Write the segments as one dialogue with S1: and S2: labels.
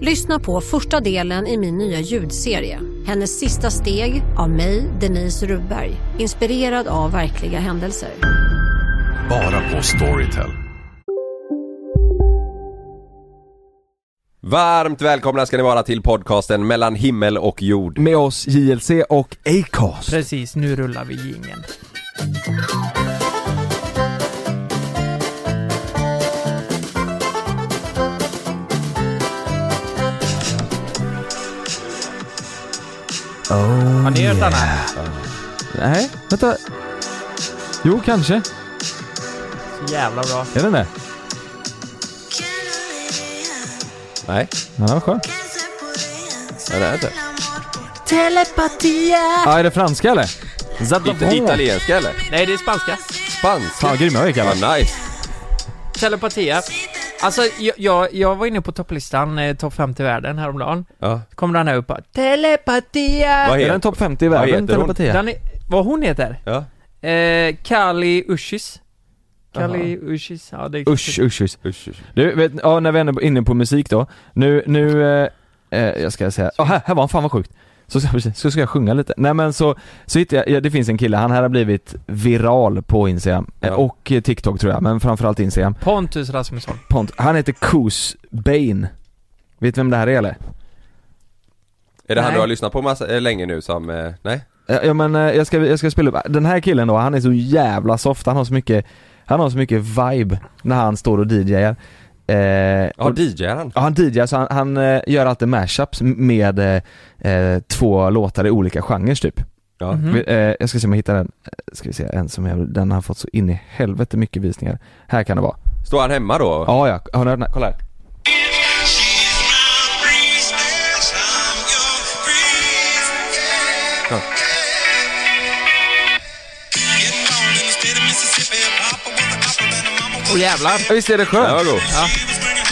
S1: Lyssna på första delen i min nya ljudserie. Hennes sista steg av mig, Denise Rubberg. Inspirerad av verkliga händelser.
S2: Bara på Storytel.
S3: Varmt välkomna ska ni vara till podcasten mellan himmel och jord.
S4: med oss JLC och Acast.
S5: Precis, nu rullar vi jingeln. Har ni hört den här?
S4: Nej, vänta. Jo, kanske.
S5: Så jävla bra.
S4: Är den det?
S3: Nej,
S4: Ja, den var skön.
S3: nej, det är inte.
S4: Ja, är det franska eller?
S3: It- italienska eller?
S5: Nej, det är spanska.
S3: Spanska?
S4: Fan, grymma vi kallar
S3: Vad nice.
S5: Telepatia. Alltså, jag, jag, jag var inne på topplistan, eh, topp 50 världen häromdagen.
S3: Ja.
S5: Så kommer den här upp bara, Telepatia!
S3: Vad
S4: Är
S3: heter
S4: den topp 50 i
S3: Vad
S4: världen,
S3: heter hon?
S4: telepati?
S5: Den är, vad hon heter?
S3: Ja.
S5: Eh, Kali Ushis. Kali Ushis, ja det är...
S4: Usch, usch, usch.
S3: Usch, usch.
S4: Du, vet, ja, när vi ändå är inne på musik då. Nu, nu, eh, eh, jag ska säga, oh, här, här var han, fan vad sjukt. Så ska, precis, så ska jag sjunga lite. Nej men så, så hittade jag, ja, det finns en kille, han här har blivit viral på Instagram. eh,
S3: Ja.
S4: Och eh, TikTok tror jag, men framförallt Instagram.
S5: Pontus Rasmusson.
S4: Pont, han heter Koos Bane. Vet du vem det här är eller?
S3: Är det han
S5: Nej.
S3: du har lyssnat på massa, eh, länge nu som, eh, nej?
S4: Ja ja, men eh, jag ska, jag ska spela upp, den här killen då, han är så jävla soft, han har så mycket, han har så mycket vibe när han står och DJar eh,
S3: Ja,
S4: och,
S3: DJar han?
S4: ja, han DJar så han, han eh, gör alltid mashups med eh, eh, två låtar i olika genrer typ
S3: Ja.
S5: Mhm.
S4: Vi- eh, Jag ska se om jag hittar den, Eh, ska vi se, en som jag, den har fått så in i helvete mycket visningar Här kan det vara,
S3: Står han hemma då?
S4: ja ja, har ni hört den här? Kolla här
S5: Åh jävlar!
S4: Ja, Visst är det
S3: Ja,
S4: skönt?
S3: då.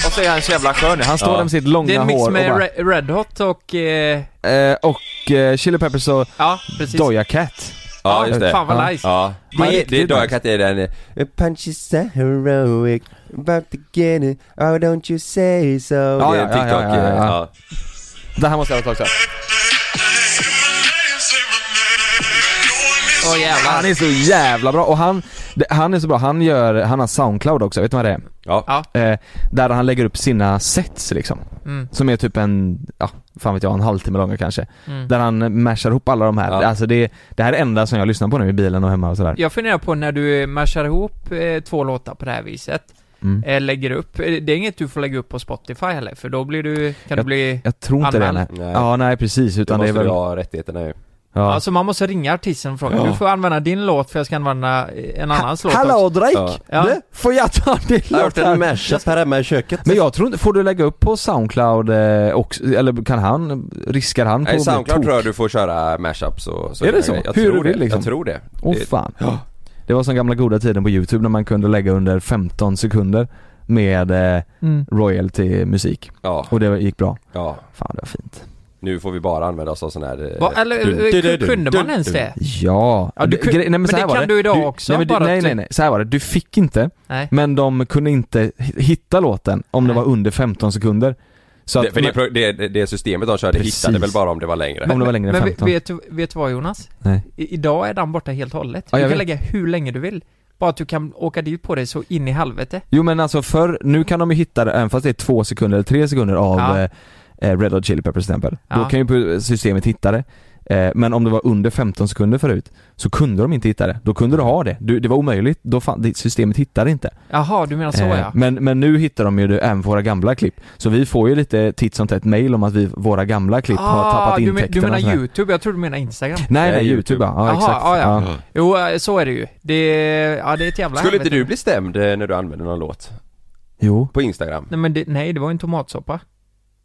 S4: Och så är han så jävla skön Han står
S3: Ja.
S4: där med sitt
S5: Det är
S4: långa
S5: en mix
S4: hår och,
S5: med
S4: bara,
S5: Re- Red Hot och... Eh,
S4: eh, och eh, Chili Peppers och
S5: ja, precis.
S4: Doja Cat
S3: ja, just det.
S5: Fan vad
S4: Ja.
S5: nice.
S3: Ja,
S4: Man är
S3: det,
S4: riktigt
S3: det är
S4: nice.
S3: Doja Cat är den eh, Punch is a heroic, about to get it, oh don't you say so
S4: ja,
S3: Det är
S4: ja,
S3: en TikTok,
S4: ja, ja, ja.
S3: eh, ja.
S4: Det här måste jag ha tagit också
S5: Åh jävlar.
S4: Han är så jävla bra och han, det- han är så bra, han gör, han har Soundcloud också, vet du vad det
S3: Ja.
S5: Ja.
S4: är? Eh, där han lägger upp sina sets liksom.
S5: Mm.
S4: Som är typ en, ja, fan vet jag, en halvtimme långa kanske.
S5: Mm.
S4: Där han mashar ihop alla de här,
S3: Ja.
S4: alltså det, det här är det enda som jag lyssnar på nu i bilen och hemma och sådär.
S5: Jag funderar på när du eh, mashar ihop eh, två låtar på det här viset,
S4: Mm.
S5: eh, lägger upp, eh, det är inget du får lägga upp på Spotify heller, för då blir du, kan du bli...
S4: Jag tror inte
S5: Anmäl.
S4: det
S3: Nej.
S4: nej. Ja nej precis,
S3: Då
S4: utan det
S3: måste
S4: är väl...
S3: du
S4: Ja.
S3: ha rättigheterna ju.
S5: Alltså man måste ringa artisten och fråga,
S4: Ja.
S5: du får använda din låt för jag ska använda eh, en annans låt också.
S4: Hallå Drake!
S3: Ja.
S5: Ja.
S4: Du, får jag ta din låt här?
S3: mashup här hemma i köket.
S4: Men jag tror inte, får du lägga upp på Soundcloud eh, också, eller kan han, riskar han på
S3: Nej,
S4: att bli
S3: Soundcloud
S4: tok?
S3: tror jag du får köra mashups och så
S4: Är det
S3: vidare.
S4: så?
S3: Jag
S4: Hur
S3: tror
S4: du
S3: det.
S4: vill, liksom.
S3: Jag tror det.
S4: Åh
S3: Det-
S4: fan. Det var som gamla goda tiden på youtube när man kunde lägga under 15 sekunder med eh,
S5: Mm.
S4: royalty musik.
S3: Ja,
S4: Och det gick bra.
S3: ja.
S4: Fan det var fint.
S3: Nu får vi bara använda oss av sån här... eh,
S5: Va, eller
S3: dun,
S5: eh,
S3: dun,
S5: ku-
S3: dun,
S5: kunde
S3: dun,
S5: man ens
S3: dun.
S5: det?
S4: Ja!
S5: Ja, du
S4: Det-
S5: kun-
S4: grej- nej, men,
S5: men
S4: så här
S5: det
S4: var
S5: kan
S4: det.
S5: du idag också,
S4: nej, men,
S5: bara typ-
S4: du, nej
S5: att
S4: nej
S5: du-
S4: nej, så här var det. Du fick inte,
S5: Nej.
S4: men de kunde inte hi- hitta låten om det
S5: Nej.
S4: var under 15 sekunder. Så att,
S3: Det, för det, pro- det, det- det systemet de körde
S4: Precis.
S3: hittade väl bara om det var längre.
S4: om det var längre än
S5: Men ve-
S4: 15.
S5: vet du, vet du vad Jonas?
S4: nej.
S5: I, idag är den borta helt och hållet.
S4: Ja,
S5: du
S4: jag
S5: kan
S4: vet.
S5: lägga hur länge du vill. Bara att du kan åka dit på dig så in i helvete.
S4: Jo men alltså förr, nu kan de ju hitta det även fast det är två sekunder eller tre sekunder av
S5: Ja.
S4: eh, eh, Red Hot Chili Peppers till exempel. Då
S5: Ja.
S4: kan ju systemet hitta det. Eh, Men om det var under 15 sekunder förut så kunde de inte hitta det. Då kunde du ha det. Du, det var omöjligt. Då fan, det, systemet hittade inte.
S5: Jaha, du menar så
S4: Eh,
S5: Alltså, ja.
S4: men, men nu hittar de ju det även på våra gamla klipp. Så vi får ju lite titt som tätt mail om att vi, våra gamla klipp har tappat
S5: Ah, du, men-
S4: intäkterna.
S5: du
S4: och
S5: menar
S4: sådär.
S5: YouTube? Jag tror du menar Instagram.
S4: Nej,
S3: Nej,
S4: nej, YouTube ja. ja
S5: Jaha,
S4: exakt.
S5: ja, ja.
S4: Ja.
S5: Jo, eh, så är det ju. Det, ja, det är ett jävla
S3: Skulle inte
S5: helvete.
S3: du bli stämd eh, när du använder någon låt?
S4: Jo.
S3: På Instagram?
S5: Nej, men det, nej, det var ju en tomatsoppa.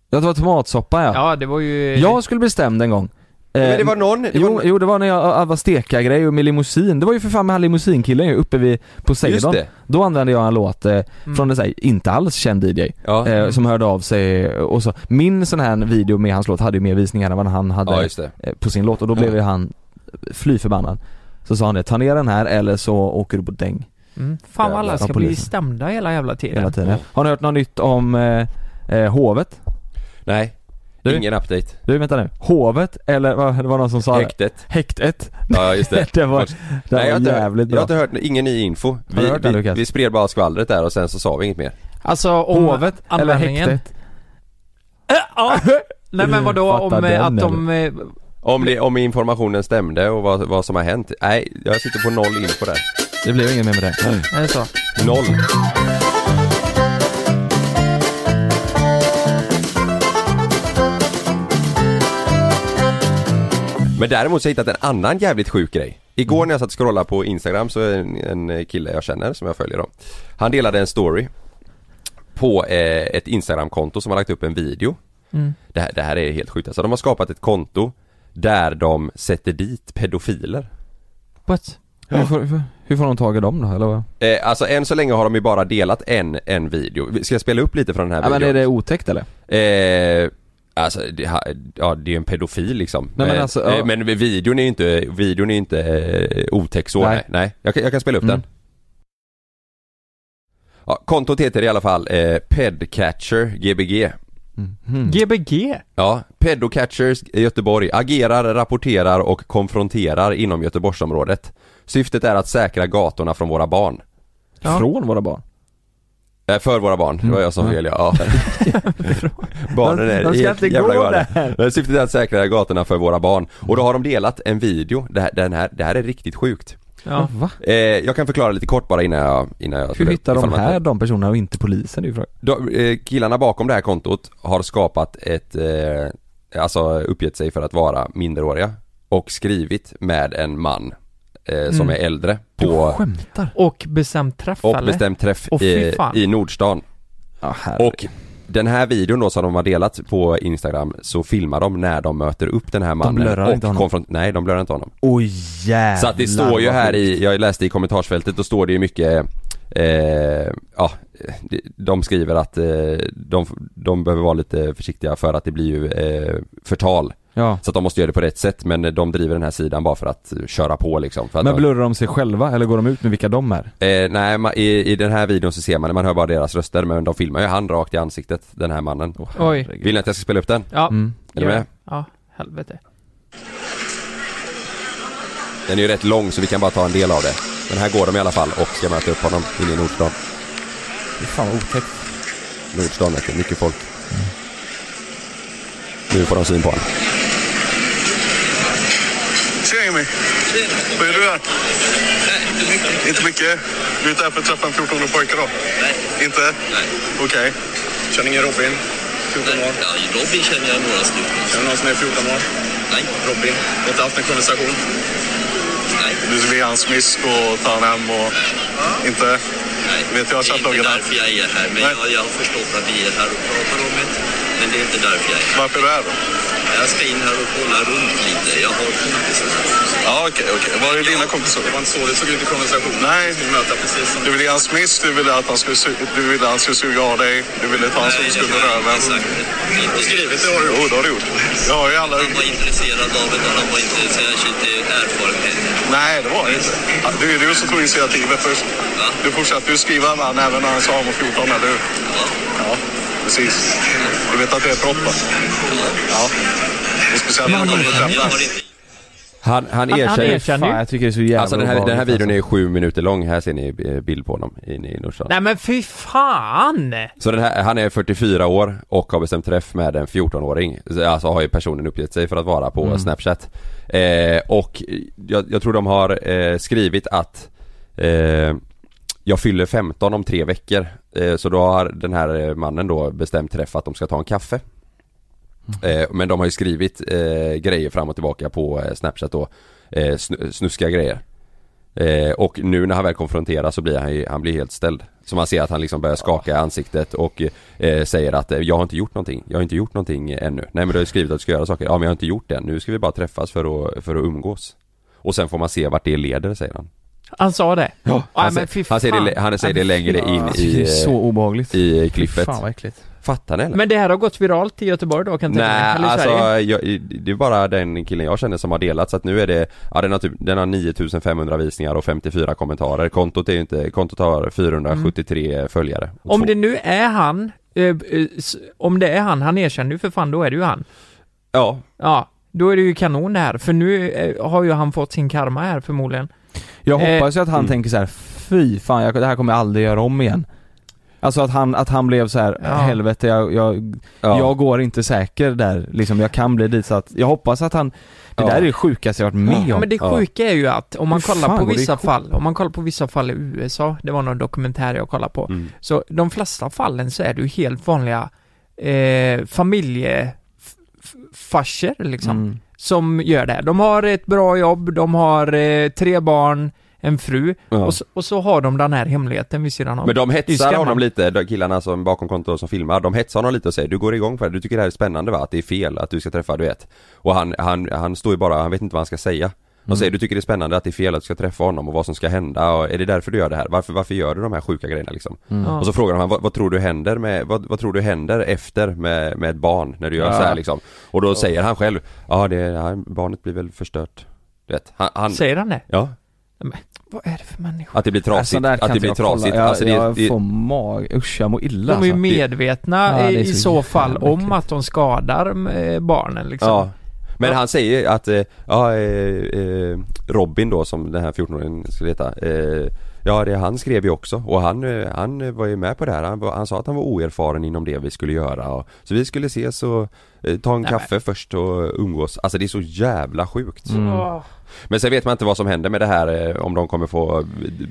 S4: Ja, Det var tomatsoppa ja.
S5: Ja, det var ju...
S4: Jag skulle bli stämd en gång.
S3: Men det
S4: Eh,
S3: var någon, det
S4: jo,
S3: var,
S4: jo, det var när jag, jag var stekargrej och med limousin. Det var ju för fan med han limousinkillen ju uppe vid
S3: just
S4: Poseidon.
S3: det.
S4: Då använde jag en låt eh,
S5: Mm.
S4: från en så här, inte alls känd DJ.
S3: Ja,
S4: Eh, som hörde av sig och så. Min sån här video med hans låt hade ju mer visningar än vad han hade
S3: ja just det.
S4: eh, på sin låt och då blev ju han fly förbannad. Så sa han det, ta ner den här eller så åker du på däng
S5: Mm. Fan vad alla
S4: Jävlar,
S5: ska bli
S4: polisen.
S5: stämda hela jävla tiden.
S4: hela tiden.
S3: Ja.
S4: Har ni hört något nytt om eh, eh, Hovet?
S3: Nej.
S4: Du?
S3: Ingen update.
S4: Du vänta nu, Hovet eller vad, det var någon som sa det?
S3: Häktet.
S4: Häktet?
S3: Ja just det.
S4: det var,
S3: Först.
S4: det
S3: jag har
S4: var
S3: inte,
S4: jävligt
S3: Jag har
S4: bra.
S3: inte hört ingen ny info.
S4: du
S3: Vi,
S4: hört den,
S3: vi,
S4: Lukas?
S3: vi spred bara skvallret där och sen så sa vi inget mer.
S5: Alltså om
S4: Hovet eller
S5: användningen.
S4: häktet?
S5: Äh, ja. Nej men vadå om
S4: Fattar
S5: eh,
S4: den,
S5: att de... eh,
S3: Om, det, om informationen stämde och vad, vad som har hänt. Nej, jag sitter på noll info där.
S4: Det blev inget mer med det.
S5: Är det så?
S3: Noll. Men däremot så har jag hittat en annan jävligt sjuk grej. Igår när jag satt och scrollade på Instagram så är det en, en kille jag känner som jag följer då. Han delade en story på eh, ett Instagram-konto som har lagt upp en video. Det, här, det här är helt sjukt alltså. De har skapat ett konto där de sätter dit pedofiler.
S5: What?
S4: Hur får, hur får de tag i dem då eller vad?
S3: Eh, alltså än så länge har de ju bara delat en, en video. Ska jag spela upp lite från den här
S4: Ja,
S3: videon?
S4: men är det otäckt eller?
S3: Eh, alltså, det, ha- ja, det är ju en pedofil liksom.
S4: Nej, men alltså, ja.
S3: eh, men videon är ju inte, videon är ju inte eh, otäck så. Nej.
S4: Nej.
S3: Nej. Jag, kan, jag kan spela upp
S4: Mm.
S3: den. Ja, kontot heter i alla fall eh, Pedcatcher GBG. Mm.
S4: Mhm.
S5: GBG?
S3: Ja, Pedocatchers i Göteborg agerar, rapporterar och konfronterar inom Göteborgsområdet. Syftet är att säkra gatorna från våra barn.
S5: Ja.
S4: Från våra barn?
S3: Eh, för våra barn, det var jag som
S4: Mm.
S3: fel ja. Barnen är
S4: De ska
S3: helt
S4: inte
S3: jävla
S4: gå
S3: galna.
S4: där.
S3: Men Syftet är att säkra gatorna för våra barn. Och då har de delat en video, det här, den här, det här är riktigt sjukt.
S5: Ja.
S4: Va?
S3: Eh, jag kan förklara lite kort bara innan jag, innan jag
S4: Hur hittar de
S3: ifall man-
S4: här de personerna och inte polisen? Det är ju frågan.
S3: de, eh, killarna bakom det här kontot har skapat ett, eh, alltså uppgett sig för att vara minderåriga och skrivit med en man eh, som
S5: Mm.
S3: är äldre
S4: Du
S3: på
S4: skämtar?
S5: Och bestämt träff
S3: och
S5: eller?
S3: bestämt träff
S5: Åh, fy
S3: i,
S5: fan.
S3: i Nordstan.
S4: Ja, herregud.
S3: Och den här videon då som de har delat på Instagram så filmar de när de möter upp den här mannen
S4: blurrar
S3: och
S4: inte honom.
S3: konfront- Nej de blurrar inte honom.
S4: Oj jävlar
S3: Så att det står ju
S4: vad
S3: här
S4: sjukt.
S3: i, jag läste i kommentarsfältet, då står det ju mycket Eh, ja, de- de skriver att eh, de, de behöver vara lite försiktiga för att det blir ju eh, förtal.
S4: Ja.
S3: Så att de måste göra det på rätt sätt men de driver den här sidan bara för att köra på liksom. För att
S4: Men
S3: de-
S4: blurrar de sig själva eller går de ut med vilka de är?
S3: Eh, nej, ma- i, i den här videon så ser man, man hör bara deras röster men de filmar ju han rakt i ansiktet, den här mannen.
S5: Oj.
S3: Vill ni att jag ska spela upp den?
S5: Ja.
S4: Mm.
S3: Är ni
S5: gör det.
S3: med?
S5: Ja, helvete.
S3: Den är ju rätt lång så vi kan bara ta en del av det. Men här går de i alla fall och ska möta upp honom inne i Nordstan.
S4: Fan vad otäckt.
S3: Nordstan heter det, mycket folk.
S6: Mm.
S3: Nu får de syn på honom.
S6: Tjena Jimmy! Vad gör du här? Nej, inte mycket. Du är ute här för att träffa en 14-årig pojke då? Nej. Inte? Nej. Okej. Känner ingen Robin? 14 år? Ja, Robin känner jag några stycken. Känner du någon som är 14 år? Nej. Robin? Du har inte haft en konversation? Nej. Du vill hans smisk och ta honom hem och... Inte? Nej. Vet jag chattlagen här?
S7: jag är här, men
S6: Nej.
S7: jag, jag har förstått att vi är här och pratar om det. Men det är inte därför jag är här.
S6: Varför är du här då?
S7: Jag ska in här och kolla runt lite. Jag har kompisar.
S6: Ja, okej, okej. Var är dina kompisar? Det var inte så det såg ut i konversationen. Nej. Du ville ge hans miss, du ville att han skulle, su- du ville att han skulle suga av dig, du ville ta hans underskuld med röven.
S7: Inte skrivit
S6: Det har du, jo, det har du gjort. Jag har ju alla...
S7: Han var intresserad av det och han var inte särskilt eh, erfaren.
S6: Nej, det var det inte. Ja, Det är du som tog initiativet först. Du fortsatte ju skriva med han även när han sa han var 14, eller hur? Ja, precis. Du vet att det är ett brott, va? Ja. Och speciellt när han kommer till
S7: Jag
S6: träffen.
S7: har inte
S3: Han, han
S5: Han-
S3: erkänner,
S5: han erkänner ju. Fan, jag
S4: tycker det är så
S5: jävla
S3: Alltså den här, den här
S5: obehagligt,
S3: videon är ju sju minuter lång, här ser ni eh, bild på honom inne i Norsan.
S5: Nej men fy fan!
S3: Så den här, han är 44 år och har bestämt träff med en 14-åring. Alltså har ju personen uppgett sig för att vara på
S5: Mm.
S3: Snapchat. Eh, och jag, jag tror de har eh, skrivit att eh, jag fyller 15 om tre veckor. Eh, så då har den här eh, mannen då bestämt träff att de ska ta en kaffe. Eh, men de har ju skrivit eh, grejer fram och tillbaka på eh, Snapchat då. Eh, snu- snuskiga grejer. Eh, och nu när han väl konfronteras så blir han, ju- han blir helt ställd. Så man ser att han liksom börjar skaka i ansiktet och eh, säger att eh, jag har inte gjort någonting, jag har inte gjort någonting ännu. Nej men du har ju skrivit att du ska göra saker, ja men jag har inte gjort det än. nu ska vi bara träffas för att, för att umgås. Och sen får man se vart det leder säger han.
S5: Han sa det? Ja,
S3: Han,
S5: men
S3: säger-
S5: fy
S3: han säger
S5: fan.
S3: det, han säger det
S5: Ja, men fy
S3: längre in
S5: fan. Alltså,
S3: i,
S4: alltså. så obehagligt.
S3: i klippet.
S4: Fan vad äckligt.
S3: Fattar ni eller?
S5: Men det här har gått viralt i Göteborg då kan jag tänka mig,
S3: Nej
S5: eller i
S3: alltså,
S5: Sverige?
S3: jag, det är bara den killen jag känner som har delat så att nu är det, ja den har typ, den har 9500 visningar och 54 kommentarer. Kontot är ju inte, kontot har 473 följare. Och
S5: Om
S3: två-
S5: det nu är han, eh, eh, s- om det är han, han erkänner ju för fan, då är det ju han.
S3: Ja.
S5: Ja, då är det ju kanon det här, för nu eh, har ju han fått sin karma här förmodligen.
S4: Jag hoppas ju
S5: Eh,
S4: att han
S5: mm.
S4: tänker så här: fy fan, jag, det här kommer jag aldrig göra om igen. Alltså att han, att han blev så här,
S5: Ja.
S4: helvete jag, jag, jag går inte säker där liksom, jag kan bli dit så att, jag hoppas att han, det
S5: Ja.
S4: där är det sjukaste jag varit med
S5: Ja,
S4: om.
S5: men det sjuka är ju att om man
S4: Hur
S5: kollar
S4: fan
S5: på
S4: går det
S5: vissa
S4: ihop?
S5: fall, om man kollar på vissa fall i USA, det var någon dokumentär jag kollade på,
S3: Mm.
S5: så de flesta fallen så är det ju helt vanliga eh, familjefarsor liksom,
S4: Mm.
S5: som gör det här. De har ett bra jobb, de har eh, tre barn, en fru,
S3: Ja.
S5: och, så, och så har de den här hemligheten vid sidan om.
S3: Men de
S5: Det är ju
S3: hetsar
S5: skrämmande.
S3: honom lite, de killarna som bakom kontot som filmar, de hetsar honom lite och säger du går igång för det, du tycker det här är spännande va? Att det är fel att du ska träffa, du vet. Och han, han, han står ju bara, han vet inte vad han ska säga. De
S4: Mm.
S3: säger du tycker det är spännande att det är fel att du ska träffa honom och vad som ska hända och är det därför du gör det här? Varför, varför gör du de här sjuka grejerna liksom?
S4: Mm. Ja.
S3: Och så frågar de honom, vad, vad tror du händer med, vad, vad tror du händer efter med, med ett barn när du gör
S4: Ja.
S3: så här liksom? Och då
S4: Ja.
S3: säger han själv, ja det, ja, barnet blir väl förstört. Du vet, han, han
S5: Säger han det?
S3: Ja.
S5: Vad är det för människor?
S3: Att det blir
S4: Alltså,
S3: trasigt,
S4: där kan
S3: att det
S4: inte
S3: blir
S4: jag kolla.
S3: trasigt.
S4: Jag,
S3: Alltså, det,
S4: jag
S3: det,
S4: får mag, usch jag mår illa
S5: De är ju
S4: alltså. Det-
S5: medvetna
S4: Ja, det är
S5: i i så
S4: jävla
S5: fall om att de skadar eh, barnen liksom.
S3: Ja. Men han säger att, eh, ja, eh, eh, Robin då som den här 14-åringen skulle heta eh, Ja det han skrev ju också och han, eh, han var ju med på det här. Han, var- han sa att han var oerfaren inom det vi skulle göra och, Så vi skulle ses och eh, ta en
S5: Nej,
S3: kaffe först och umgås. Alltså det är så jävla sjukt.
S5: Mm. Åh.
S3: Men sen vet man inte vad som händer med det här eh, om de kommer få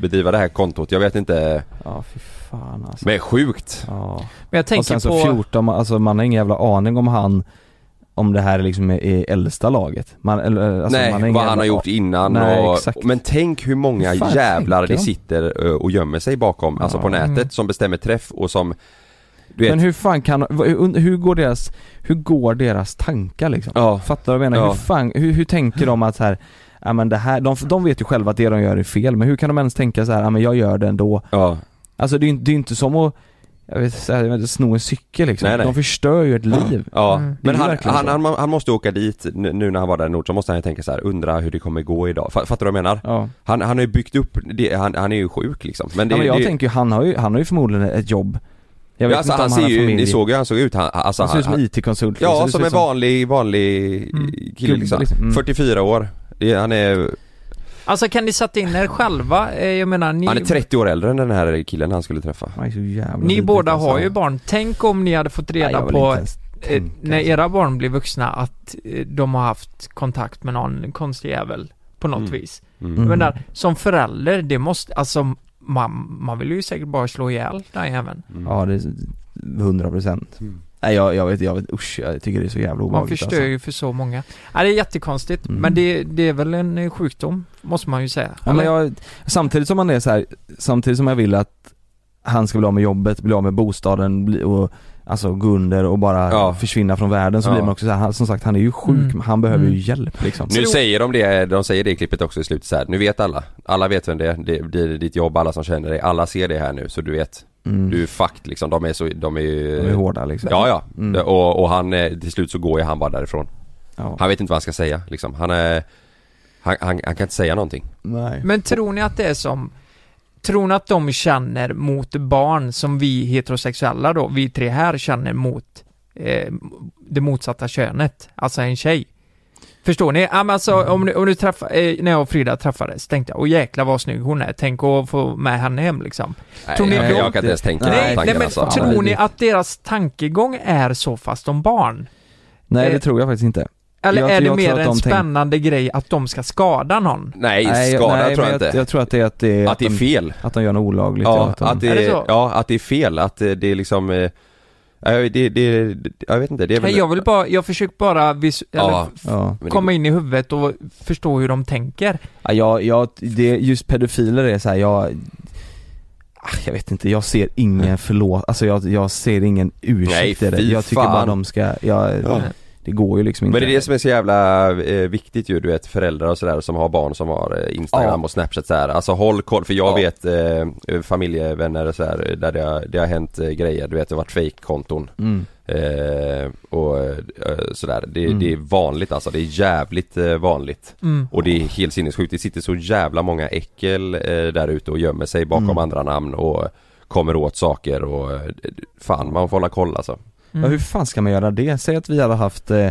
S3: bedriva det här kontot. Jag vet inte.
S4: Ja fy fan alltså.
S3: Men sjukt!
S4: Ja.
S5: Men jag tänker
S4: och sen så
S5: på-
S4: 14, man- alltså man har ingen jävla aning om han om det här liksom är i äldsta laget. Man, eller, alltså,
S3: Nej,
S4: man
S3: vad
S4: ingen
S3: han
S4: jävla
S3: har gjort
S4: an-
S3: innan
S4: Nej,
S3: och,
S4: exakt.
S3: Men tänk hur många
S4: Hur fan
S3: jävlar
S4: tänker
S3: det
S4: de?
S3: sitter eh, och gömmer sig bakom, alltså på nätet,
S4: Mm.
S3: som bestämmer träff och som du vet,
S4: Men hur fan kan, vad- hur, hur går deras, hur går deras tankar liksom? Fattar du vad jag menar?
S3: Ja.
S4: Hur fan, hur, hur tänker de att så här, ja men det här, de, de vet ju själva att det de gör är fel, men hur kan de ens tänka så här, ja men jag gör det ändå?
S3: Ja.
S4: Alltså det är ju det är ju inte som att, jag vet, så här, jag vet inte, sno en cykel liksom.
S3: Nej, nej.
S4: De förstör ju ett liv.
S3: Ja,
S4: Mm. Det är
S3: men
S4: ju
S3: han,
S4: verkligen
S3: han,
S4: så.
S3: han, han måste åka dit nu nu när han var där i Nord så måste han ju tänka så här, undra hur det kommer gå idag. Fa- Fattar du vad jag menar?
S4: Ja.
S3: Han, han har ju byggt upp, det, han, han är ju sjuk liksom. Men det,
S4: ja, men jag
S3: det,
S4: tänker ju, han har ju, han har ju förmodligen ett jobb. Jag
S3: Ja,
S4: vet
S3: alltså,
S4: inte
S3: han
S4: om han
S3: ser
S4: har
S3: ju,
S4: familj.
S3: ni såg ju hur han såg ut. Han, alltså,
S4: Han ser ut som IT-konsult.
S3: Ja,
S4: liksom. Det ser
S3: som
S4: ut
S3: en vanlig, vanlig kille
S4: Gubbe,
S3: liksom.
S4: liksom. Mm.
S3: 44 år. Det- Han är,
S5: Alltså kan ni sätta in er själva? Eh, Jag menar, ni,
S3: han är 30 år äldre än den här killen han skulle träffa.
S4: Han är så jävla alltså.
S5: ni båda har ju barn. Tänk om ni hade fått reda
S3: jag vill
S5: på,
S3: inte ens
S5: eh, när era barn blir vuxna, att eh, de har haft kontakt med någon konstig jävel på något
S3: Mm.
S5: vis.
S3: Mm.
S5: Jag menar, som förälder, det måste, alltså man, man vill ju säkert bara slå ihjäl den här jäveln.
S4: Ja, det är 100 procent.
S3: Mm.
S4: Nej jag, jag vet, jag vet, usch jag tycker det är så jävla
S5: Man
S4: obehagligt
S5: förstör
S4: alltså.
S5: ju för så många. Ja, det är jättekonstigt,
S4: Mm.
S5: men det, det är väl en eh, sjukdom, måste man ju säga.
S4: Ja, men jag, samtidigt som man är så här, samtidigt som jag vill att han ska bli av med jobbet, bli av med bostaden bli, och alltså gå under och bara försvinna från världen så
S3: Ja. Eh,
S4: blir man också så här, han, som sagt han är ju sjuk,
S5: Mm.
S4: men han behöver ju hjälp liksom.
S3: Nu säger de det, de säger det i klippet också i slutet så här. nu vet alla. Alla vet vem det är, det blir ditt jobb, alla som känner dig, alla ser det här nu så du vet.
S4: Mm.
S3: Du är fucked liksom, de är så, de är ju...
S4: De är hårda, liksom.
S3: Ja ja,
S4: Mm.
S3: och, och han, eh, till slut så går ju han bara därifrån.
S4: Ja.
S3: Han vet inte vad han ska säga liksom, han är... Han, han, han kan inte säga någonting.
S4: Nej.
S5: Men tror ni att det är som Tror ni att de känner mot barn som vi heterosexuella då, vi tre här känner mot eh, det motsatta könet, alltså en tjej? Förstår ni? Ja, men alltså, om du, om du träffar, eh, när jag och Frida träffades tänkte jag, åh jäklar vad snygg hon är, tänk att få med henne hem liksom.
S3: Nej, jag- jag kan inte ens tänka
S5: nej,
S3: den
S5: nej,
S3: tanken,
S5: men
S3: alltså.
S5: tror
S3: Nej,
S5: ni
S3: det-
S5: att deras tankegång är så fast om barn?
S4: Nej
S5: Eh,
S4: det tror jag faktiskt inte.
S5: Eller
S4: jag,
S5: är det
S4: jag tror
S5: mer
S4: att
S5: en
S4: de tänk-
S5: spännande grej att de ska skada någon?
S3: Nej,
S4: jag-
S3: skada
S4: nej,
S3: tror
S4: men
S3: jag inte.
S4: Jag tror att det är att det är,
S3: Att det är
S4: de-
S3: fel.
S4: Att de gör något olagligt. eller
S3: Ja,
S4: att de,
S3: att det,
S5: Är det så?
S3: ja, att det är fel, att eh, det är liksom eh, nej, det, det, det, jag vet inte, det är väl
S5: Nej, jag vill bara, jag försöker bara vis, eller,
S3: Ja,
S5: f-
S4: ja.
S5: komma in i huvudet och förstå hur de tänker.
S4: Ja, jag, jag, det, just pedofiler är så här, jag Ah, jag vet inte, jag ser ingen förlåt, alltså jag, jag ser ingen ursäkt
S3: Nej,
S4: i det.
S3: fy
S4: Jag tycker bara
S3: fan.
S4: de ska, jag,
S3: Ja.
S4: det går ju liksom inte.
S3: Men det är det som är så jävla eh, viktigt ju, du vet föräldrar och sådär som har barn som har eh, Instagram
S4: Ja.
S3: och Snapchat sådär. Alltså håll koll, för jag
S4: Ja.
S3: vet eh, familjevänner och sådär där det har, det har hänt eh, grejer, du vet det har varit fejkkonton
S4: Mm.
S3: eh, och eh, sådär. Det,
S4: Mm.
S3: det är vanligt alltså, det är jävligt eh, vanligt.
S5: Mm.
S3: Och det är helt sinnessjukt, det sitter så jävla många äckel eh, där ute och gömmer sig bakom
S4: Mm.
S3: andra namn och kommer åt saker och eh, fan man får hålla koll alltså.
S4: Ja, hur fan ska man göra det? Säg att vi hade haft eh,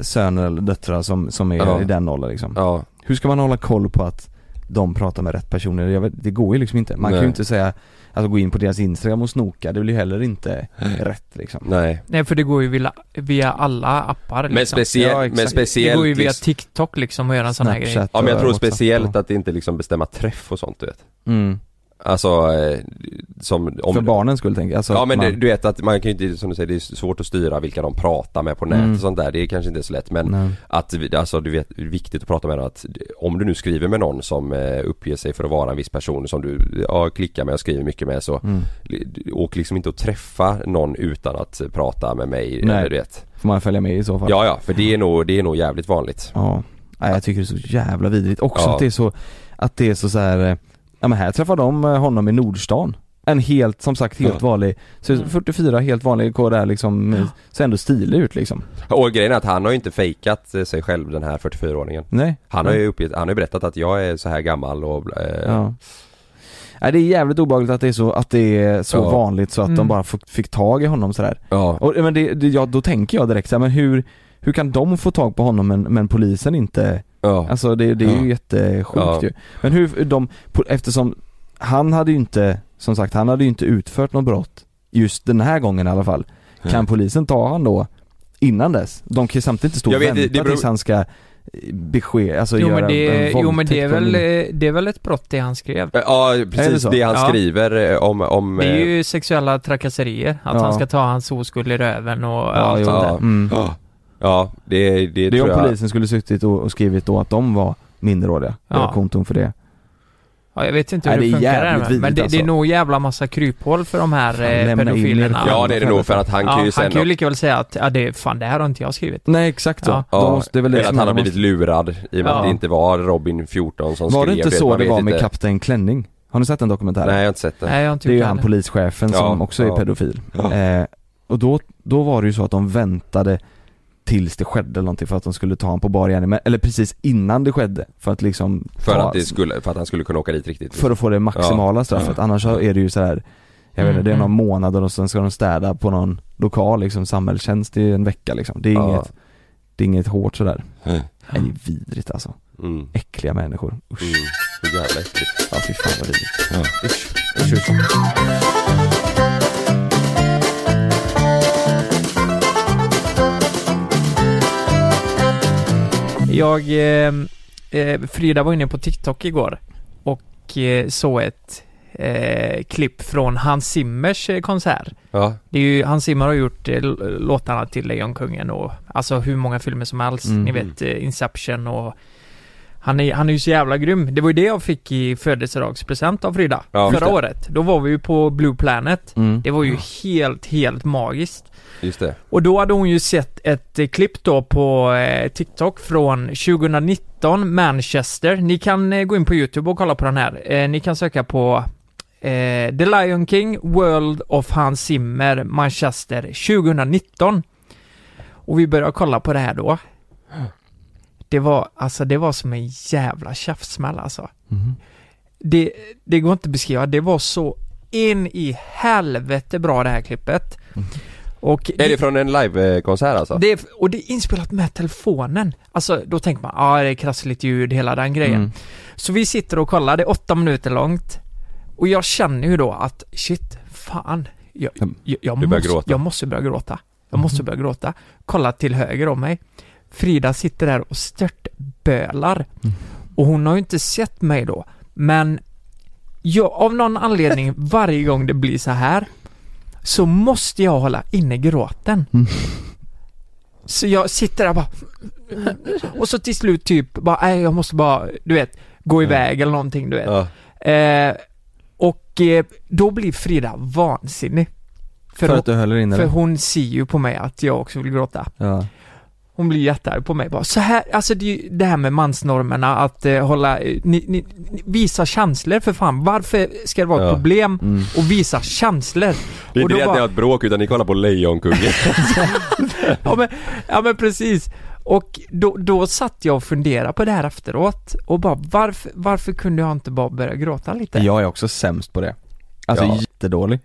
S4: söner eller döttrar som, som är
S3: Ja.
S4: i den åldern liksom.
S3: Ja.
S4: Hur ska man hålla koll på att de pratar med rätt personer? Jag vet, det går ju liksom inte. Man kan
S3: Nej.
S4: ju inte säga, alltså gå in på deras Instagram och snoka, det blir ju heller inte rätt liksom.
S3: Nej.
S5: Nej, för det går ju via, via alla appar liksom.
S3: Men speciellt- men
S5: Det går ju
S3: speciellt
S5: via
S3: liksom-
S5: TikTok liksom att göra en sån här grej.
S3: Ja men jag tror
S4: och WhatsApp
S3: speciellt att det inte liksom bestämma träff och sånt du vet
S4: Mm.
S3: Alltså, eh, som om...
S4: För barnens skull tänker jag. Alltså,
S3: ja men
S4: man-
S3: det- du vet att man kan ju inte, som du säger, det är svårt att styra vilka de pratar med på nätet
S4: Mm.
S3: och sånt där Det är kanske inte så lätt men
S4: Nej.
S3: att, vi- alltså du vet, det är viktigt att prata med dem att Om du nu skriver med någon som eh, uppger sig för att vara en viss person som du, ja, klickar med och skriver mycket med så
S4: Mm.
S3: li- Åk liksom inte och träffa någon utan att eh, prata med mig
S4: Nej.
S3: eller du vet
S4: Får man följa med i så fall?
S3: Ja ja, för det är nog, det är nog jävligt vanligt
S4: Ja. Nej, jag tycker det är så jävla vidrigt. Också
S3: Ja.
S4: att det är så, att det är så, så här, eh, ja men här träffar de eh, honom i Nordstan. En helt, som sagt, helt
S3: Ja. Mm.
S4: vanlig, så 44 helt vanlig, går där liksom, eh, ser ändå stilig ut liksom.
S3: Och grejen är att han har ju inte fejkat eh, sig själv den här 44-åringen
S4: Nej.
S3: Han har ju uppgett, han har ju berättat att jag är så här gammal och eh,
S4: Ja. Nej, det är jävligt obehagligt att det är så, att det är så
S3: Ja.
S4: vanligt så att
S5: Mm.
S4: de bara fick, fick tag i honom sådär.
S3: ja.
S4: Och, men det, det, ja, då tänker jag direkt så här, men hur, hur kan de få tag på honom men, men polisen inte?
S3: ja.
S4: Alltså det, det är
S3: Ja.
S4: ju jättesjukt
S3: Ja.
S4: ju. Men hur de, po- eftersom han hade ju inte, som sagt han hade ju inte utfört något brott just den här gången i alla fall.
S3: Nej.
S4: Kan polisen ta han då innan dess? De kan ju samtidigt inte stå
S3: Jag
S4: och
S3: vet, det-
S4: vänta
S3: det beror-
S4: tills han ska eh, beskä, alltså
S5: Jo
S4: göra
S5: men, det,
S4: en
S5: jo men det är
S4: våldtäkt
S5: väl,
S4: på en-
S5: eh, det är väl ett brott det han skrev.
S3: Eh, Ja
S4: Är det
S3: precis,
S4: så?
S3: det, han
S5: Ja.
S3: skriver eh, om, om
S5: Det är
S3: eh,
S5: ju sexuella trakasserier, att
S4: Ja.
S5: han ska ta hans oskuld i röven och
S4: Ja,
S5: allt
S4: jo,
S5: sånt där.
S4: ja. Mm.
S3: ja. ja, det, det,
S4: Det
S3: tror
S4: är om
S3: jag
S4: polisen skulle suttit och, och skrivit då att de var minderåriga,
S5: Ja.
S4: ja. konton för det.
S5: Ja, jag vet inte hur
S4: Nej,
S5: det,
S4: det är
S5: funkar där
S4: jävligt
S5: men, men
S4: vidrigt
S5: det, det är
S4: alltså.
S5: nog jävla massa kryphål för de här
S4: Fan,
S5: eh,
S4: lämna in
S5: pedofilerna.
S4: er.
S3: Ja det är det nog för att han kan ju
S5: han
S3: sen
S5: kan ju liksom- lika väl säga att ja, det, fan, det här har inte jag skrivit.
S4: Nej exakt så.
S5: Ja.
S4: De
S3: Ja,
S4: måste- det är väl det
S3: eller att
S4: som
S3: han har
S4: de måste-
S3: blivit lurad i och med
S5: Ja.
S3: att det inte var Robin 14 som
S4: Var det
S3: skrev
S4: inte så
S3: man
S4: det
S3: vet
S4: var med Äh,
S3: inte.
S4: Kapten Klänning? Har ni sett den dokumentären?
S3: Nej jag har inte sett det
S5: Nej, jag har inte
S4: det är ju
S5: gjort
S4: han
S5: heller.
S4: polischefen som
S3: Ja,
S4: också
S3: ja.
S4: är pedofil.
S3: Ja.
S4: Eh, och då, då var det ju så att de väntade tills det skedde någonting för att de skulle ta honom på bar gärning. Men- eller precis innan det skedde för att liksom
S3: För
S4: ta,
S3: att, det skulle, för att han skulle kunna åka dit riktigt
S4: för att få det maximala straffet. Annars så är det ju så här. Jag vet inte, det är någon månad och sen ska de städa på någon lokal liksom, samhällstjänst i en vecka liksom. Det är
S3: Ja.
S4: inget, det är inget hårt sådär.
S3: Nej.
S4: Nej, det är vidrigt alltså.
S3: Mm, mm.
S4: Äckliga människor. Usch.
S3: Så jävla äckligt
S4: Ja fy fan vad vidrigt.
S3: ja.
S4: Usch, usch.
S5: Jag, eh, eh, Frida var inne på TikTok igår och eh, såg ett eh, klipp från Hans Zimmers eh, konsert.
S3: ja,
S5: Det är ju, Hans Zimmer har gjort eh, l- låtarna till Lejonkungen och alltså hur många filmer som helst.
S4: Mm.
S5: Ni vet eh, Inception och han är, han är ju så jävla grym. Det var ju det jag fick i födelsedagspresent av Frida
S3: Ja, just
S5: förra
S3: det.
S5: året. Då var vi ju på Blue Planet.
S4: Mm.
S5: Det var ju helt, helt magiskt.
S3: just det
S5: Och då hade hon ju sett ett eh, klipp då på eh, TikTok från 2019 Manchester. Ni kan eh, gå in på YouTube och kolla på den här. Eh, ni kan söka på eh, The Lion King World of Hans Zimmer Manchester 2019. Och vi började kolla på det här då. Det var, alltså det var som en jävla käftsmäll alltså. Det, det går inte att beskriva, det var så in i helvete bra det här klippet. Och
S3: Är det från en livekonsert alltså?
S5: det är, och det är inspelat med telefonen. Alltså, då tänker man, ja ah, det är krassligt ljud, hela den grejen.
S3: Mm.
S5: Så vi sitter och kollar, det är åtta minuter långt. Och jag känner ju då att, shit, fan. Jag, jag, jag,
S3: Mm. Du börjar
S5: måste,
S3: gråta. Mm.
S5: jag måste börja gråta. Jag måste börja gråta. Kolla till höger om mig. Frida sitter där och störtbölar.
S3: Mm.
S5: Och hon har ju inte sett mig då. Men jag, av någon anledning, varje gång det blir så här så måste jag hålla inne gråten.
S4: Mm.
S5: Så jag sitter där bara och så till slut typ bara, nej jag måste bara, du vet,
S4: Mm.
S5: gå iväg eller någonting du vet. Eh, och eh, då blir Frida vansinnig.
S4: För att du höll inne
S5: För
S4: den.
S5: hon ser ju på mig att jag också vill gråta.
S4: Ja.
S5: Hon blir jättearg på mig bara, så här, alltså det, är ju det här med mansnormerna att eh, hålla, eh, ni, ni, ni, visa känslor för fan. Varför ska det vara ett
S3: Ja. Mm.
S5: problem och visa känslor?
S3: Det är
S5: och
S3: inte
S5: då
S3: det att ni har ett bråk utan ni kollar på Lejonkungen.
S5: ja, men, ja men precis. Och då, då satt jag och funderade på det här efteråt och bara varför, varför kunde jag inte bara börja gråta lite? Ja,
S4: Jag är också sämst på det. Alltså
S5: Ja.
S4: jättedålig.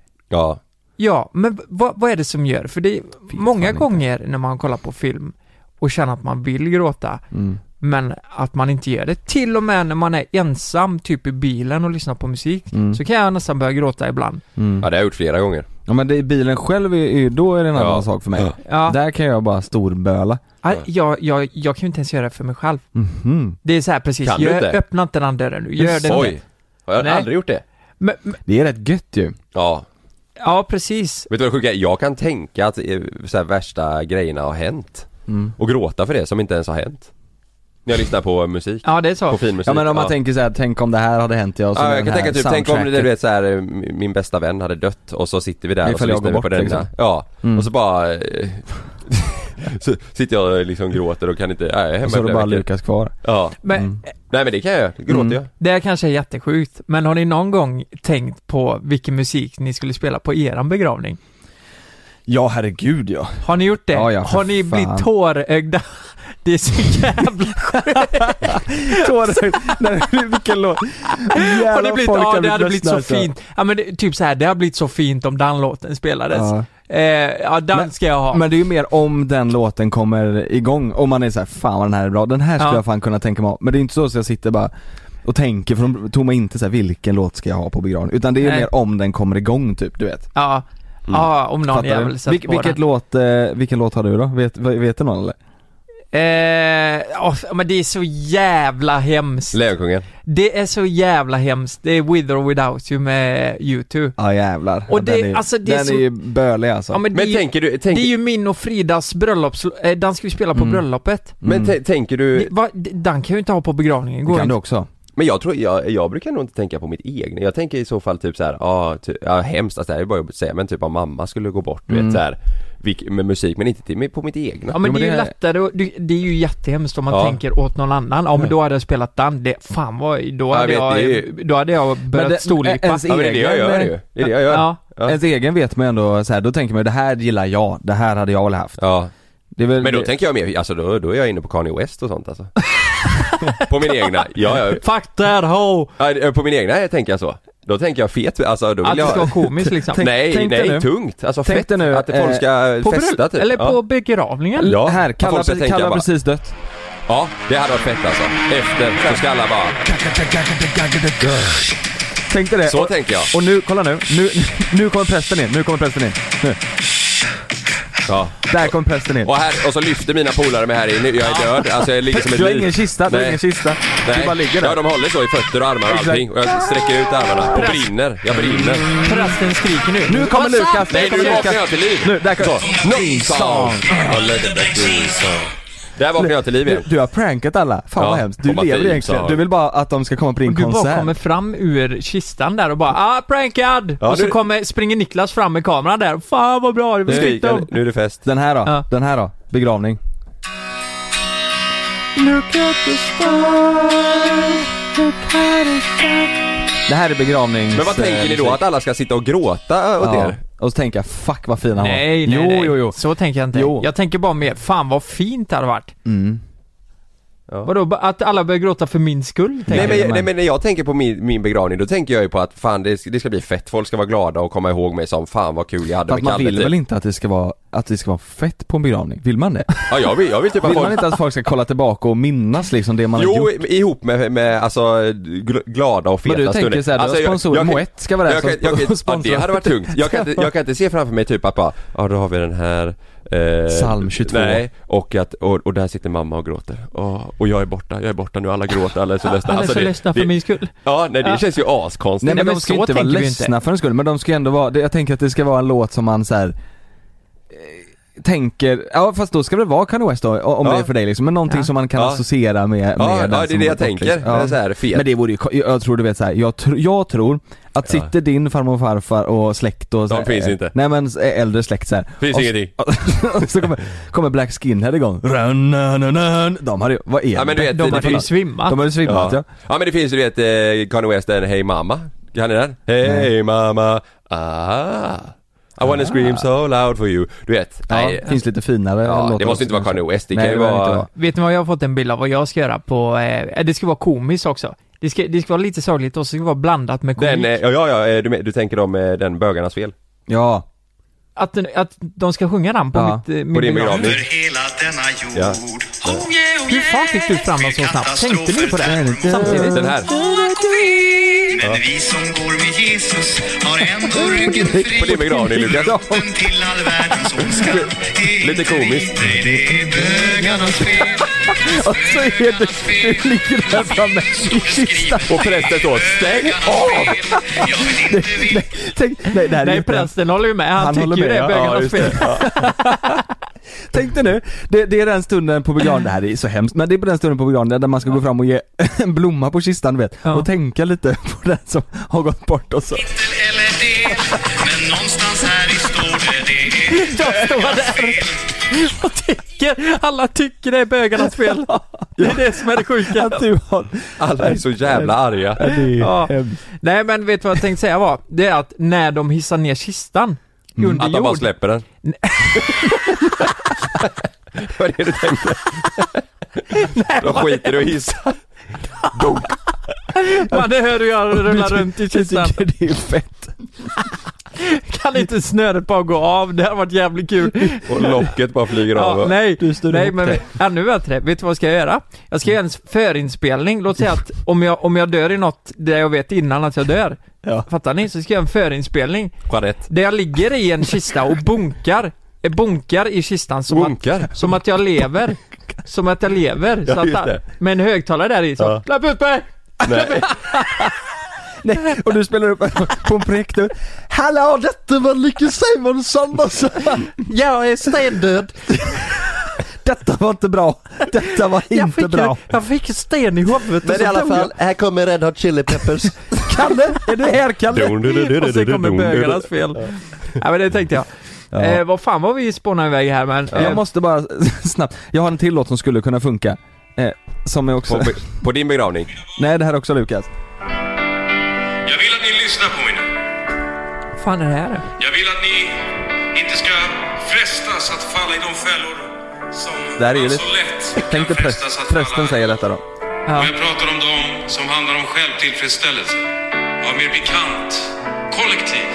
S3: Ja.
S5: men v- vad, vad är det som gör? För det är många gånger när man kollar på film och känner att man vill gråta
S4: Mm.
S5: men att man inte gör det. Till och med när man är ensam, typ i bilen och lyssnar på musik,
S4: Mm.
S5: så kan jag nästan börja gråta ibland.
S3: Ja det har jag gjort flera gånger.
S4: Ja men det är bilen själv, är, är, då är det en annan sak för mig.
S5: Ja.
S4: Där kan jag bara storböla.
S5: Ja. Jag, jag, jag kan ju inte ens göra det för mig själv.
S4: Mhm.
S5: Det är så här precis,
S4: Kan du
S5: gör,
S4: inte?
S5: öppna inte den dörren nu, gör det
S3: Oj.
S5: inte.
S3: Har jag
S5: Nej.
S3: aldrig gjort det?
S5: Men, men,
S4: Det är rätt gött ju.
S3: Ja.
S5: ja, precis.
S3: Vet du vad det sjuka är? Jag kan tänka att eh, så här, värsta grejerna har hänt.
S4: Mm.
S3: Och gråta för det som inte ens har hänt. När jag lyssnar på musik.
S5: Ja det är så.
S3: På fin musik.
S4: Ja men om man tänker så här, tänk om det här hade hänt jag och så
S3: Ja,
S4: med
S3: jag
S4: den
S3: kan tänka
S4: här
S3: typ, tänk om det, du
S4: soundtracket.
S3: vet så här, eh, min bästa vän hade dött och så sitter vi där och så
S4: Ifall jag
S3: lyssnar
S4: går
S3: vi på
S4: bort,
S3: denna.
S4: liksom.
S3: Ja,
S4: Mm.
S3: och så bara... eh, så sitter jag och liksom gråter och kan inte, nej jag är hemma
S4: Och så är
S3: i
S4: det
S3: flera
S4: bara
S3: veckor.
S4: Lukas kvar.
S3: Ja.
S5: Men-
S4: Mm.
S3: Nej men det kan jag göra, gråter
S5: Mm.
S3: jag.
S5: Det här kanske är jättesjukt, men har ni någon gång tänkt på vilken musik ni skulle spela på eran begravning?
S4: Ja herregud ja.
S5: Har ni gjort det?
S4: Ja, ja, för
S5: har ni
S4: fan.
S5: blivit tårögda? Det är så jävla
S4: Tårar. Nej, vilken låt.
S5: Har
S4: Jävlar,
S5: ni blivit,
S4: folk har
S5: ja det
S4: blivit
S5: hade blivit
S4: ledsna,
S5: så
S4: alltså.
S5: fint. Ja men det, typ så här, det har blivit så fint om den låten spelades.
S4: Ja.
S5: Eh, ja den
S4: Men-
S5: ska jag ha.
S4: Men det är ju mer om den låten kommer igång, om man är så här, fan vad den här är bra, den här skulle
S5: Ja.
S4: jag fan kunna tänka mig ha. Men det är inte så att jag sitter bara och tänker, för de tog mig inte så här, vilken låt ska jag ha på begravningen? Utan det är ju
S5: Nej.
S4: mer om den kommer igång typ, du vet.
S5: Ja, ja om någon
S4: Mm. Fattar du?
S5: jävel sätter
S4: Vilk-
S5: på
S4: vilket
S5: den.
S4: låt, eh, vilken låt har du då? Vet, v- vet du någon eller?
S5: Eh, åh, men det är så jävla hemskt.
S3: Lejonkungen.
S5: Det är så jävla hemskt. Det är With or Without You med U2.
S4: Ja jävlar.
S5: Och
S4: Ja,
S5: det-
S4: den är, ju-
S5: alltså, det är
S4: den
S5: så-
S4: är ju bölig alltså.
S5: Ja, men det är ju-
S3: tänker du, tänk,
S5: Det är ju min och Fridas bröllops... Eh, den ska vi spela på
S3: Mm.
S5: bröllopet.
S3: men tä- tänker
S4: Mm.
S3: du,
S5: Det, va, det- den kan ju inte ha på begravningen. Går inte.
S4: också.
S3: Men jag tror, jag, jag brukar nog inte tänka på mitt egna. Jag tänker i så fall typ så här, ja, ty, ja hemskt, alltså, det här är bara att säga, men typ om mamma skulle gå bort, du
S4: Mm.
S3: vet så här, vilk, med musik, men inte till, med, på mitt egna.
S5: Ja men det är ju lättare och, det, det är ju jättehemskt om man
S3: Ja.
S5: tänker åt någon annan. Ja men då hade jag spelat den. Det, fan vad, då hade
S3: vet,
S5: jag,
S3: det är ju-
S5: då hade jag börjat
S4: det-
S5: storlipa.
S4: ens
S3: Ja, men det är det jag
S4: egen-
S3: gör ju. Det är det jag gör.
S5: Ja.
S4: Ens egen vet man ju ändå så här, då tänker man ju, det här gillar jag, det här hade jag väl haft.
S3: Ja.
S4: Det är väl,
S3: Men då
S4: det-
S3: tänker jag mer, alltså då, då är jag inne på Kanye West och sånt alltså. på min egna, ja, ja.
S5: Fuck that ho!
S3: Ja, På min egna tänker jag så. Då tänker jag fet, alltså då vill
S5: Att det
S3: jag...
S5: ska vara komiskt liksom.
S4: Tänk-
S3: nej,
S4: tänk dig
S3: nej,
S4: nu.
S3: tungt. Alltså
S4: Tänk
S3: fett,
S4: dig nu,
S3: att folk ska
S4: eh,
S5: På
S3: festa
S5: bröll-
S3: typ.
S5: Eller på
S3: ja.
S5: begravningen.
S3: Ja.
S4: här,
S3: Att folk
S4: Kalle,
S3: ska
S4: pre-
S3: tänka
S4: Kalle har
S3: bara-
S4: precis dött.
S3: ja, det hade varit fett alltså. Efter, så ska alla bara...
S4: Tänk dig det.
S3: Så
S4: Eh, och,
S3: tänker jag.
S4: och nu, kolla nu, nu, nu kommer prästen in, nu kommer prästen in. Nu.
S3: Ja.
S4: Där kommer prästen in.
S3: Och, här, och så lyfter mina polare mig här inne, jag är död, alltså jag ligger som ett
S4: Du har
S3: lik.
S4: ingen kista, du har
S3: Nej.
S4: ingen kista.
S3: Nej.
S4: Du bara ligger där.
S3: Ja, de håller så i fötter och armar och
S4: Exakt.
S3: allting. Och jag sträcker ut armarna och brinner. Jag brinner.
S5: Prästen skriker nu.
S4: Nu kommer
S5: What's up?
S4: Lukas, nu
S3: Nej, nu
S4: kommer
S3: vaknar
S4: Lukas.
S3: jag till liv.
S4: Nu, där kommer...
S3: Så. No song. I love the dream song. Där vaknar jag till liv
S4: Du,
S3: igen.
S4: du har prankat alla, fan
S3: Ja,
S4: vad hemskt. Du
S3: komma
S4: lever
S3: till
S4: egentligen,
S3: sal.
S4: du vill bara att de ska komma på din
S5: Du bara
S4: konsert.
S5: kommer fram ur kistan där och bara ah prankad!
S3: Ja,
S5: och så
S3: nu-
S5: kommer, springer Niklas fram med kameran där. Fan vad bra, det var
S3: Nu,
S5: skitdumt.
S3: nu är det fest.
S4: Den här då,
S5: Ja.
S4: den här då, begravning. Det här är begravnings...
S3: Men vad tänker ni då? Att alla ska sitta och gråta åt
S4: Ja.
S3: er?
S4: Och så tänker jag, fuck vad fin han var.
S5: Nej, nej,
S4: jo,
S5: nej.
S4: jo, jo.
S5: Så tänker jag inte.
S4: Jo.
S5: Jag tänker bara mer, fan vad fint det hade varit.
S4: Mm.
S5: Vadå, ba- att alla börjar gråta för min skull?
S3: Nej
S5: tänker
S3: men,
S5: jag.
S3: nej men när jag tänker på min, min begravning, då tänker jag ju på att fan det ska, det ska bli fett, folk ska vara glada och komma ihåg mig som fan vad kul jag hade
S4: Fast
S3: med
S4: man
S3: Kalle
S4: vill
S3: typ.
S4: väl inte att det ska vara, att det ska vara fett på en begravning? Vill man det?
S3: Ja jag vill, jag vill typ att
S4: Vill man
S3: folk...
S4: inte att folk ska kolla tillbaka och minnas liksom det man har
S3: Jo,
S4: gjort?
S3: i- ihop med, med alltså gl- glada och feta Alltså,
S4: Men du tänker så här, du har sponsorer, Moët ska vara där
S3: jag
S4: som
S3: kan- jag kan-
S4: sp- sponsrar.
S3: Ja, det hade varit tungt. Jag kan, inte, jag kan inte se framför mig typ att bara, ja då har vi den här eh,
S4: Psalm 22.
S3: Nej, och att, och, och där sitter mamma och gråter. Åh, och jag är borta, jag är borta nu, alla gråter, alla är så ledsna.
S5: Alla är
S3: Alltså,
S5: så
S3: det-
S5: ledsna för
S3: det-
S5: min skull.
S3: Ja, nej det
S5: Ja.
S3: känns ju askonstigt.
S4: Nej men, de ska ju inte vara ledsna för en skull, men de ska ju ändå vara, det- jag tänker att det ska vara en låt som man så här. eh, Tänker, ja fast då ska det vara Kanye West då, om
S3: Ja.
S4: det är för dig liksom, men någonting
S3: Ja.
S4: som man kan
S3: Ja.
S4: associera med, med
S3: Ja, ja,
S4: den
S3: det är
S4: som
S3: det jag
S4: har gått,
S3: tänker.
S4: liksom.
S3: Det är så här, fet.
S4: Men det vore ju, ko- jag tror du vet så här, jag, tr- jag tror att
S3: Ja.
S4: sitter din farmor och farfar och släkt och så
S3: De
S4: här,
S3: finns
S4: eh,
S3: inte.
S4: Nej men eh, äldre släkt så här.
S3: Finns
S4: och, s-
S3: ingenting.
S4: och så kommer, kommer Black Skinhead igång, Run, run, run, run. de hade ju, vad är
S3: Ja, men du
S4: det?
S3: vet, det- det-
S4: De hade ju svimmat ja.
S3: ja. men det finns ju du vet eh, Kanye West den Hey Mama. Kan ni den? Hey Mama, ah. I wanna scream so loud for you. Du vet.
S4: Ja, finns lite finare
S3: Ja,
S4: låtar
S3: det måste
S4: också.
S3: inte vara Kanye West. Det
S4: Nej,
S3: kan ju
S4: det behöver inte
S3: vara...
S4: vara.
S5: Vet ni vad jag har fått en bild av vad jag ska göra på, eh, det ska vara komiskt också. Det ska, det ska vara lite sorgligt och så ska det vara blandat med komik.
S3: Den, eh, ja, ja, ja, eh, du, men- du tänker om eh, den bögarnas fel?
S4: Ja.
S5: Att, den- att de ska sjunga den på mitt, eh, min
S3: På din
S5: begravning.
S3: begravning. Ja.
S5: Hur fan fick du fram den så snabbt? Tänkte ni på det? Samtidigt?
S3: Den här.
S6: Men vi som går med Jesus har ändå ryggen fri.
S3: På din begravning Lukas.
S6: Rotten till all världens ondska.
S3: Lite komiskt.
S6: Det är bögarnas fel.
S4: Och så är Alltså, det, du ligger där framme i kistan.
S3: Och prästen står stäng av!
S4: Nej, nej, tänk, nej, det här är
S5: Nej,
S4: ju inte-
S5: prästen håller ju med. Han,
S4: Han
S5: tycker
S4: håller
S5: ju
S4: med, ja.
S5: det är
S4: Ja,
S5: bögarnas
S4: just
S5: fel.
S4: det. Tänk dig nu, det, det är den stunden på begravningen, det här är så hemskt, men det är på den stunden på begravningen där man ska gå fram och ge en blomma på kistan du vet, och tänka lite på den som har gått bort och så.
S6: Eller det. Men någonstans här i står det det. är
S5: Jag står där och tycker, alla tycker det är bögarnas fel. Det är det som är det sjuka.
S3: Alla är så jävla arga.
S5: Ja. Nej men vet du vad jag tänkte säga var? Det är att när de hissar ner kistan
S4: Mm.
S5: under
S3: Att de bara
S5: jord.
S3: släpper den. Vad är det du tänkte? De skiter i att hissa. Dunk.
S5: Man det hör hur jag rullar runt i kistan.
S4: tycker det är fett.
S5: Kan inte snöret bara gå av? Det hade varit jävligt kul.
S3: Och locket bara flyger
S5: Ja,
S3: av.
S5: nej, nej
S4: ihop
S5: men
S4: dig.
S5: ännu bättre. Vet du vad jag ska göra? Jag ska göra en förinspelning. Låt säga att om jag, om jag dör i något där jag vet innan att jag dör. Fattar ni? Så ska jag göra en förinspelning.
S3: Jeanette.
S5: Där jag ligger i en kista och bunkar. eh, Bunkar i kistan som,
S3: Bunkar?
S5: Att, som att jag lever. Som att jag lever.
S3: Ja,
S5: så
S3: just
S5: att,
S3: det.
S5: med en högtalare där i. Så,
S3: Ja.
S5: Släpp ut mig!
S3: Nej.
S4: Nej, och du spelar upp på en projektor. Hallå, detta var Lycke Simonsson alltså.
S5: Jag är stendöd.
S4: Detta var inte bra. Detta var
S5: Jag
S4: inte
S5: fick,
S4: bra.
S5: en, jag fick en sten i huvudet och så dog jag.
S8: här kommer Red Hot Chili Peppers.
S4: Kalle, är du här Kalle?
S5: Och sen kommer bögarnas fel. Ja men det tänkte jag. Eh, vad fan var vi spånade iväg här men... Eh,
S4: Jag måste bara snabbt, jag har en till låt som skulle kunna funka. Eh, som är också,
S3: På, på din begravning.
S4: nej det här är också Lukas.
S6: Jag vill att ni lyssnar på mig nu.
S5: Vad fan är det här?
S6: Jag vill att ni inte ska frestas att falla i de fällor som
S4: Det här är ju
S6: man
S4: lite,
S6: så lätt kan
S4: tänk dig präst,
S6: frestas att falla
S4: prästen
S6: i.
S4: säger detta då.
S6: Och jag pratar om dem som handlar om självtillfredsställelse av mer pikant, kollektiv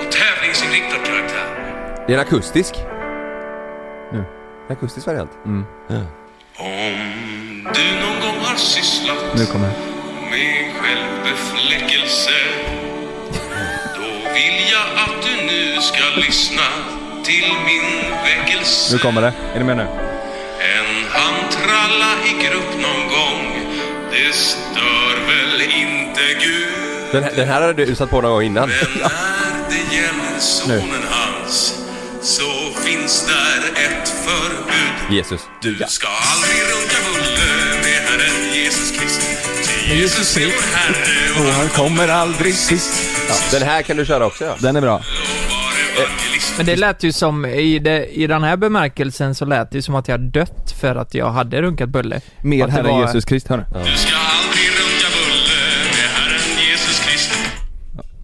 S6: och tävlingsinriktad karaktär.
S3: Det är en akustisk. En akustisk variant.
S4: Mm.
S6: Om du någon gång har sysslat
S4: Nu kommer
S6: med självbefläckelse då vill jag att du nu ska lyssna till min väckelse.
S4: Nu kommer det, är ni med nu?
S6: En handtralla i grupp någon gång, det stör väl inte Gud.
S3: Den, här- den här hade du satt på någon gång innan.
S6: Men när det gäller sonen hans, så finns där ett förbud.
S3: Jesus.
S6: Du ska aldrig runka bulle med Herren Jesus Kristus. Ty Jesus är vår Herre och han
S3: kommer aldrig sist. Ja, den här kan du köra också ja.
S4: Den är bra.
S6: var evangelist.
S5: Eh, Men det lät ju som, i, det, i den här bemärkelsen så lät det ju som att jag dött för att jag hade runkat bulle.
S4: Mer
S5: att det
S4: Herre
S5: var-
S4: Jesus Krist, hör nu.
S6: Du ska aldrig runka bulle med Herren Jesus Kristus.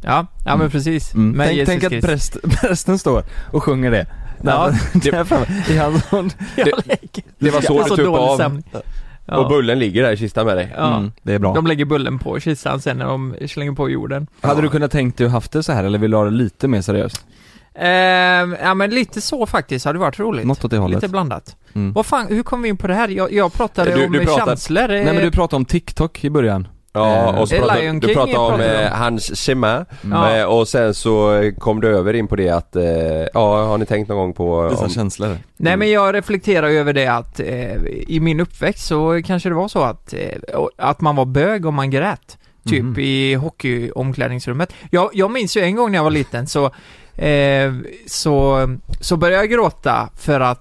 S5: Ja, ja men precis.
S4: Mm.
S5: Med
S4: Tänk,
S5: Jesus
S4: tänk att
S5: Kristus.
S4: präst, prästen står och sjunger det.
S5: Ja.
S4: Där, där framme, i hans sån.
S5: Jag lägger-
S3: Det var
S5: Jag
S3: så
S5: har
S3: du
S4: typ
S3: tuppade
S5: dålig
S3: av.
S5: sömn. Ja.
S3: Och bullen ligger där i kistan med dig.
S5: Ja. Mm,
S4: det är bra.
S5: De lägger bullen på kistan sen när de slänger på jorden.
S4: Hade du kunnat tänkt dig att haft det så här eller vill du ha det lite mer seriöst?
S5: Ehm, ja men lite så faktiskt, hade varit roligt.
S4: Något åt det hållet.
S5: Lite blandat.
S4: Mm.
S5: Vad fan, hur kom vi in på det här? Jag, jag pratade om känslor. eh,
S4: Nej men du pratade om TikTok i början.
S3: Ja,
S4: Eh,
S3: och så
S5: Eh, Mm.
S3: pratade,
S5: Lion
S3: du
S5: King
S3: pratade om
S5: pratade
S3: eh,
S5: om.
S3: hans Chema
S5: Ja.
S3: eh, och sen så kom du över in på det att, eh, ja har ni tänkt någon gång på...
S4: Dessa
S3: om-
S4: känslor.
S5: Nej men jag reflekterar ju över det att eh, i min uppväxt så kanske det var så att, eh, att man var bög om man grät. Typ
S4: Mhm.
S5: i hockeyomklädningsrummet. Jag, jag minns ju en gång när jag var liten så, eh, så, så började jag gråta för att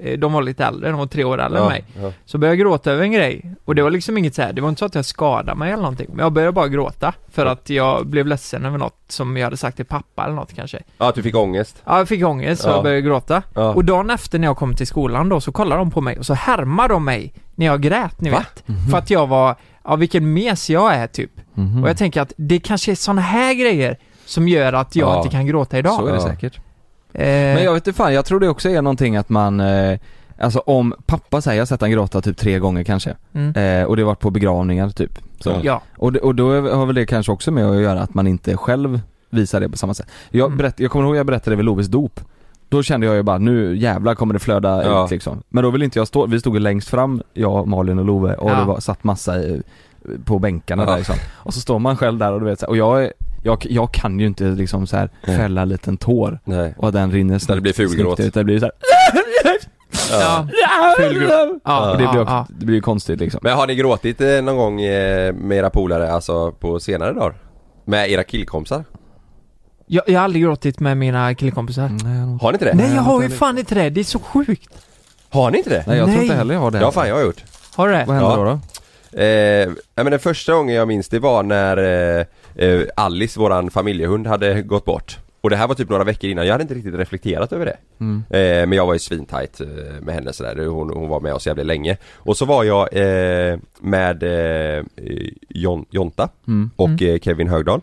S5: Eh, De var lite äldre, de var tre år äldre
S3: Ja,
S5: än mig.
S3: ja.
S5: Så började jag gråta över en grej. Och det var liksom inget så här. det var inte så att jag skadade mig eller någonting. Men jag började bara gråta. För att jag blev ledsen över något som jag hade sagt till pappa eller något kanske.
S3: Ja, att du fick ångest.
S5: Ja, jag fick ångest så
S3: Ja.
S5: jag började gråta.
S3: Ja.
S5: Och dagen efter när jag kom till skolan då så kollade de på mig och så härmade de mig när jag grät, ni vet. För att jag var, ja vilken mes jag är typ.
S4: Mhm.
S5: Och jag tänker att det kanske är såna här grejer som gör att jag
S4: Ja.
S5: inte kan gråta idag.
S4: Så är det
S5: Ja. Eh.
S4: säkert. Men jag vet inte fan, jag tror det också är någonting att man eh, Alltså om pappa säger, jag har sett han gråta typ tre gånger kanske
S5: Mm.
S4: eh, Och det har varit på begravningar typ så.
S5: Ja.
S4: Och, det- och då är- har väl det kanske också med att göra att man inte själv visar det på samma sätt Jag,
S3: Mm.
S4: berätt, jag kommer ihåg jag berättade vid Lovis dop Då kände jag ju bara nu jävlar kommer det flöda
S3: Ja.
S4: ut liksom Men då ville inte jag stå, vi stod ju längst fram jag, Malin och Love och
S3: Ja.
S4: det var, satt massa i, på bänkarna
S3: Ja.
S4: där liksom Och så står man själv där och du vet så här, och jag, är- jag, jag kan ju inte liksom så här
S3: Nej.
S4: fälla en liten tår och att den rinner snyggt, det blir
S3: fulgråt.
S4: Ut. Det blir så här,
S3: Ja.
S5: Fulgråt.
S3: Ja,
S4: och det blir,
S3: ja,
S4: också,
S3: ja.
S4: det blir ju konstigt liksom
S3: Men har ni gråtit eh, någon gång eh, med era polare, alltså på senare dagar? Med era killkompisar?
S5: Jag, jag har aldrig gråtit med mina killkompisar. Nej,
S3: Har ni inte det?
S5: Nej jag har ju fan inte det, det är så sjukt.
S3: Har ni inte det?
S5: Nej, jag tror Nej. inte heller jag har det.
S3: Ja fan jag har gjort.
S5: Har du det? Vad hände då, då?
S3: Eh, nej, men den första gången jag minns det var när eh, eh, Alice, våran familjehund, hade gått bort. Och det här var typ några veckor innan, jag hade inte riktigt reflekterat över det.
S4: Mm.
S3: Eh, men jag var ju svintajt eh, med henne sådär, hon, hon var med oss jävligt länge. Och så var jag eh, med eh, Jon, Jonta
S4: Mm.
S3: och eh, Kevin Högdahl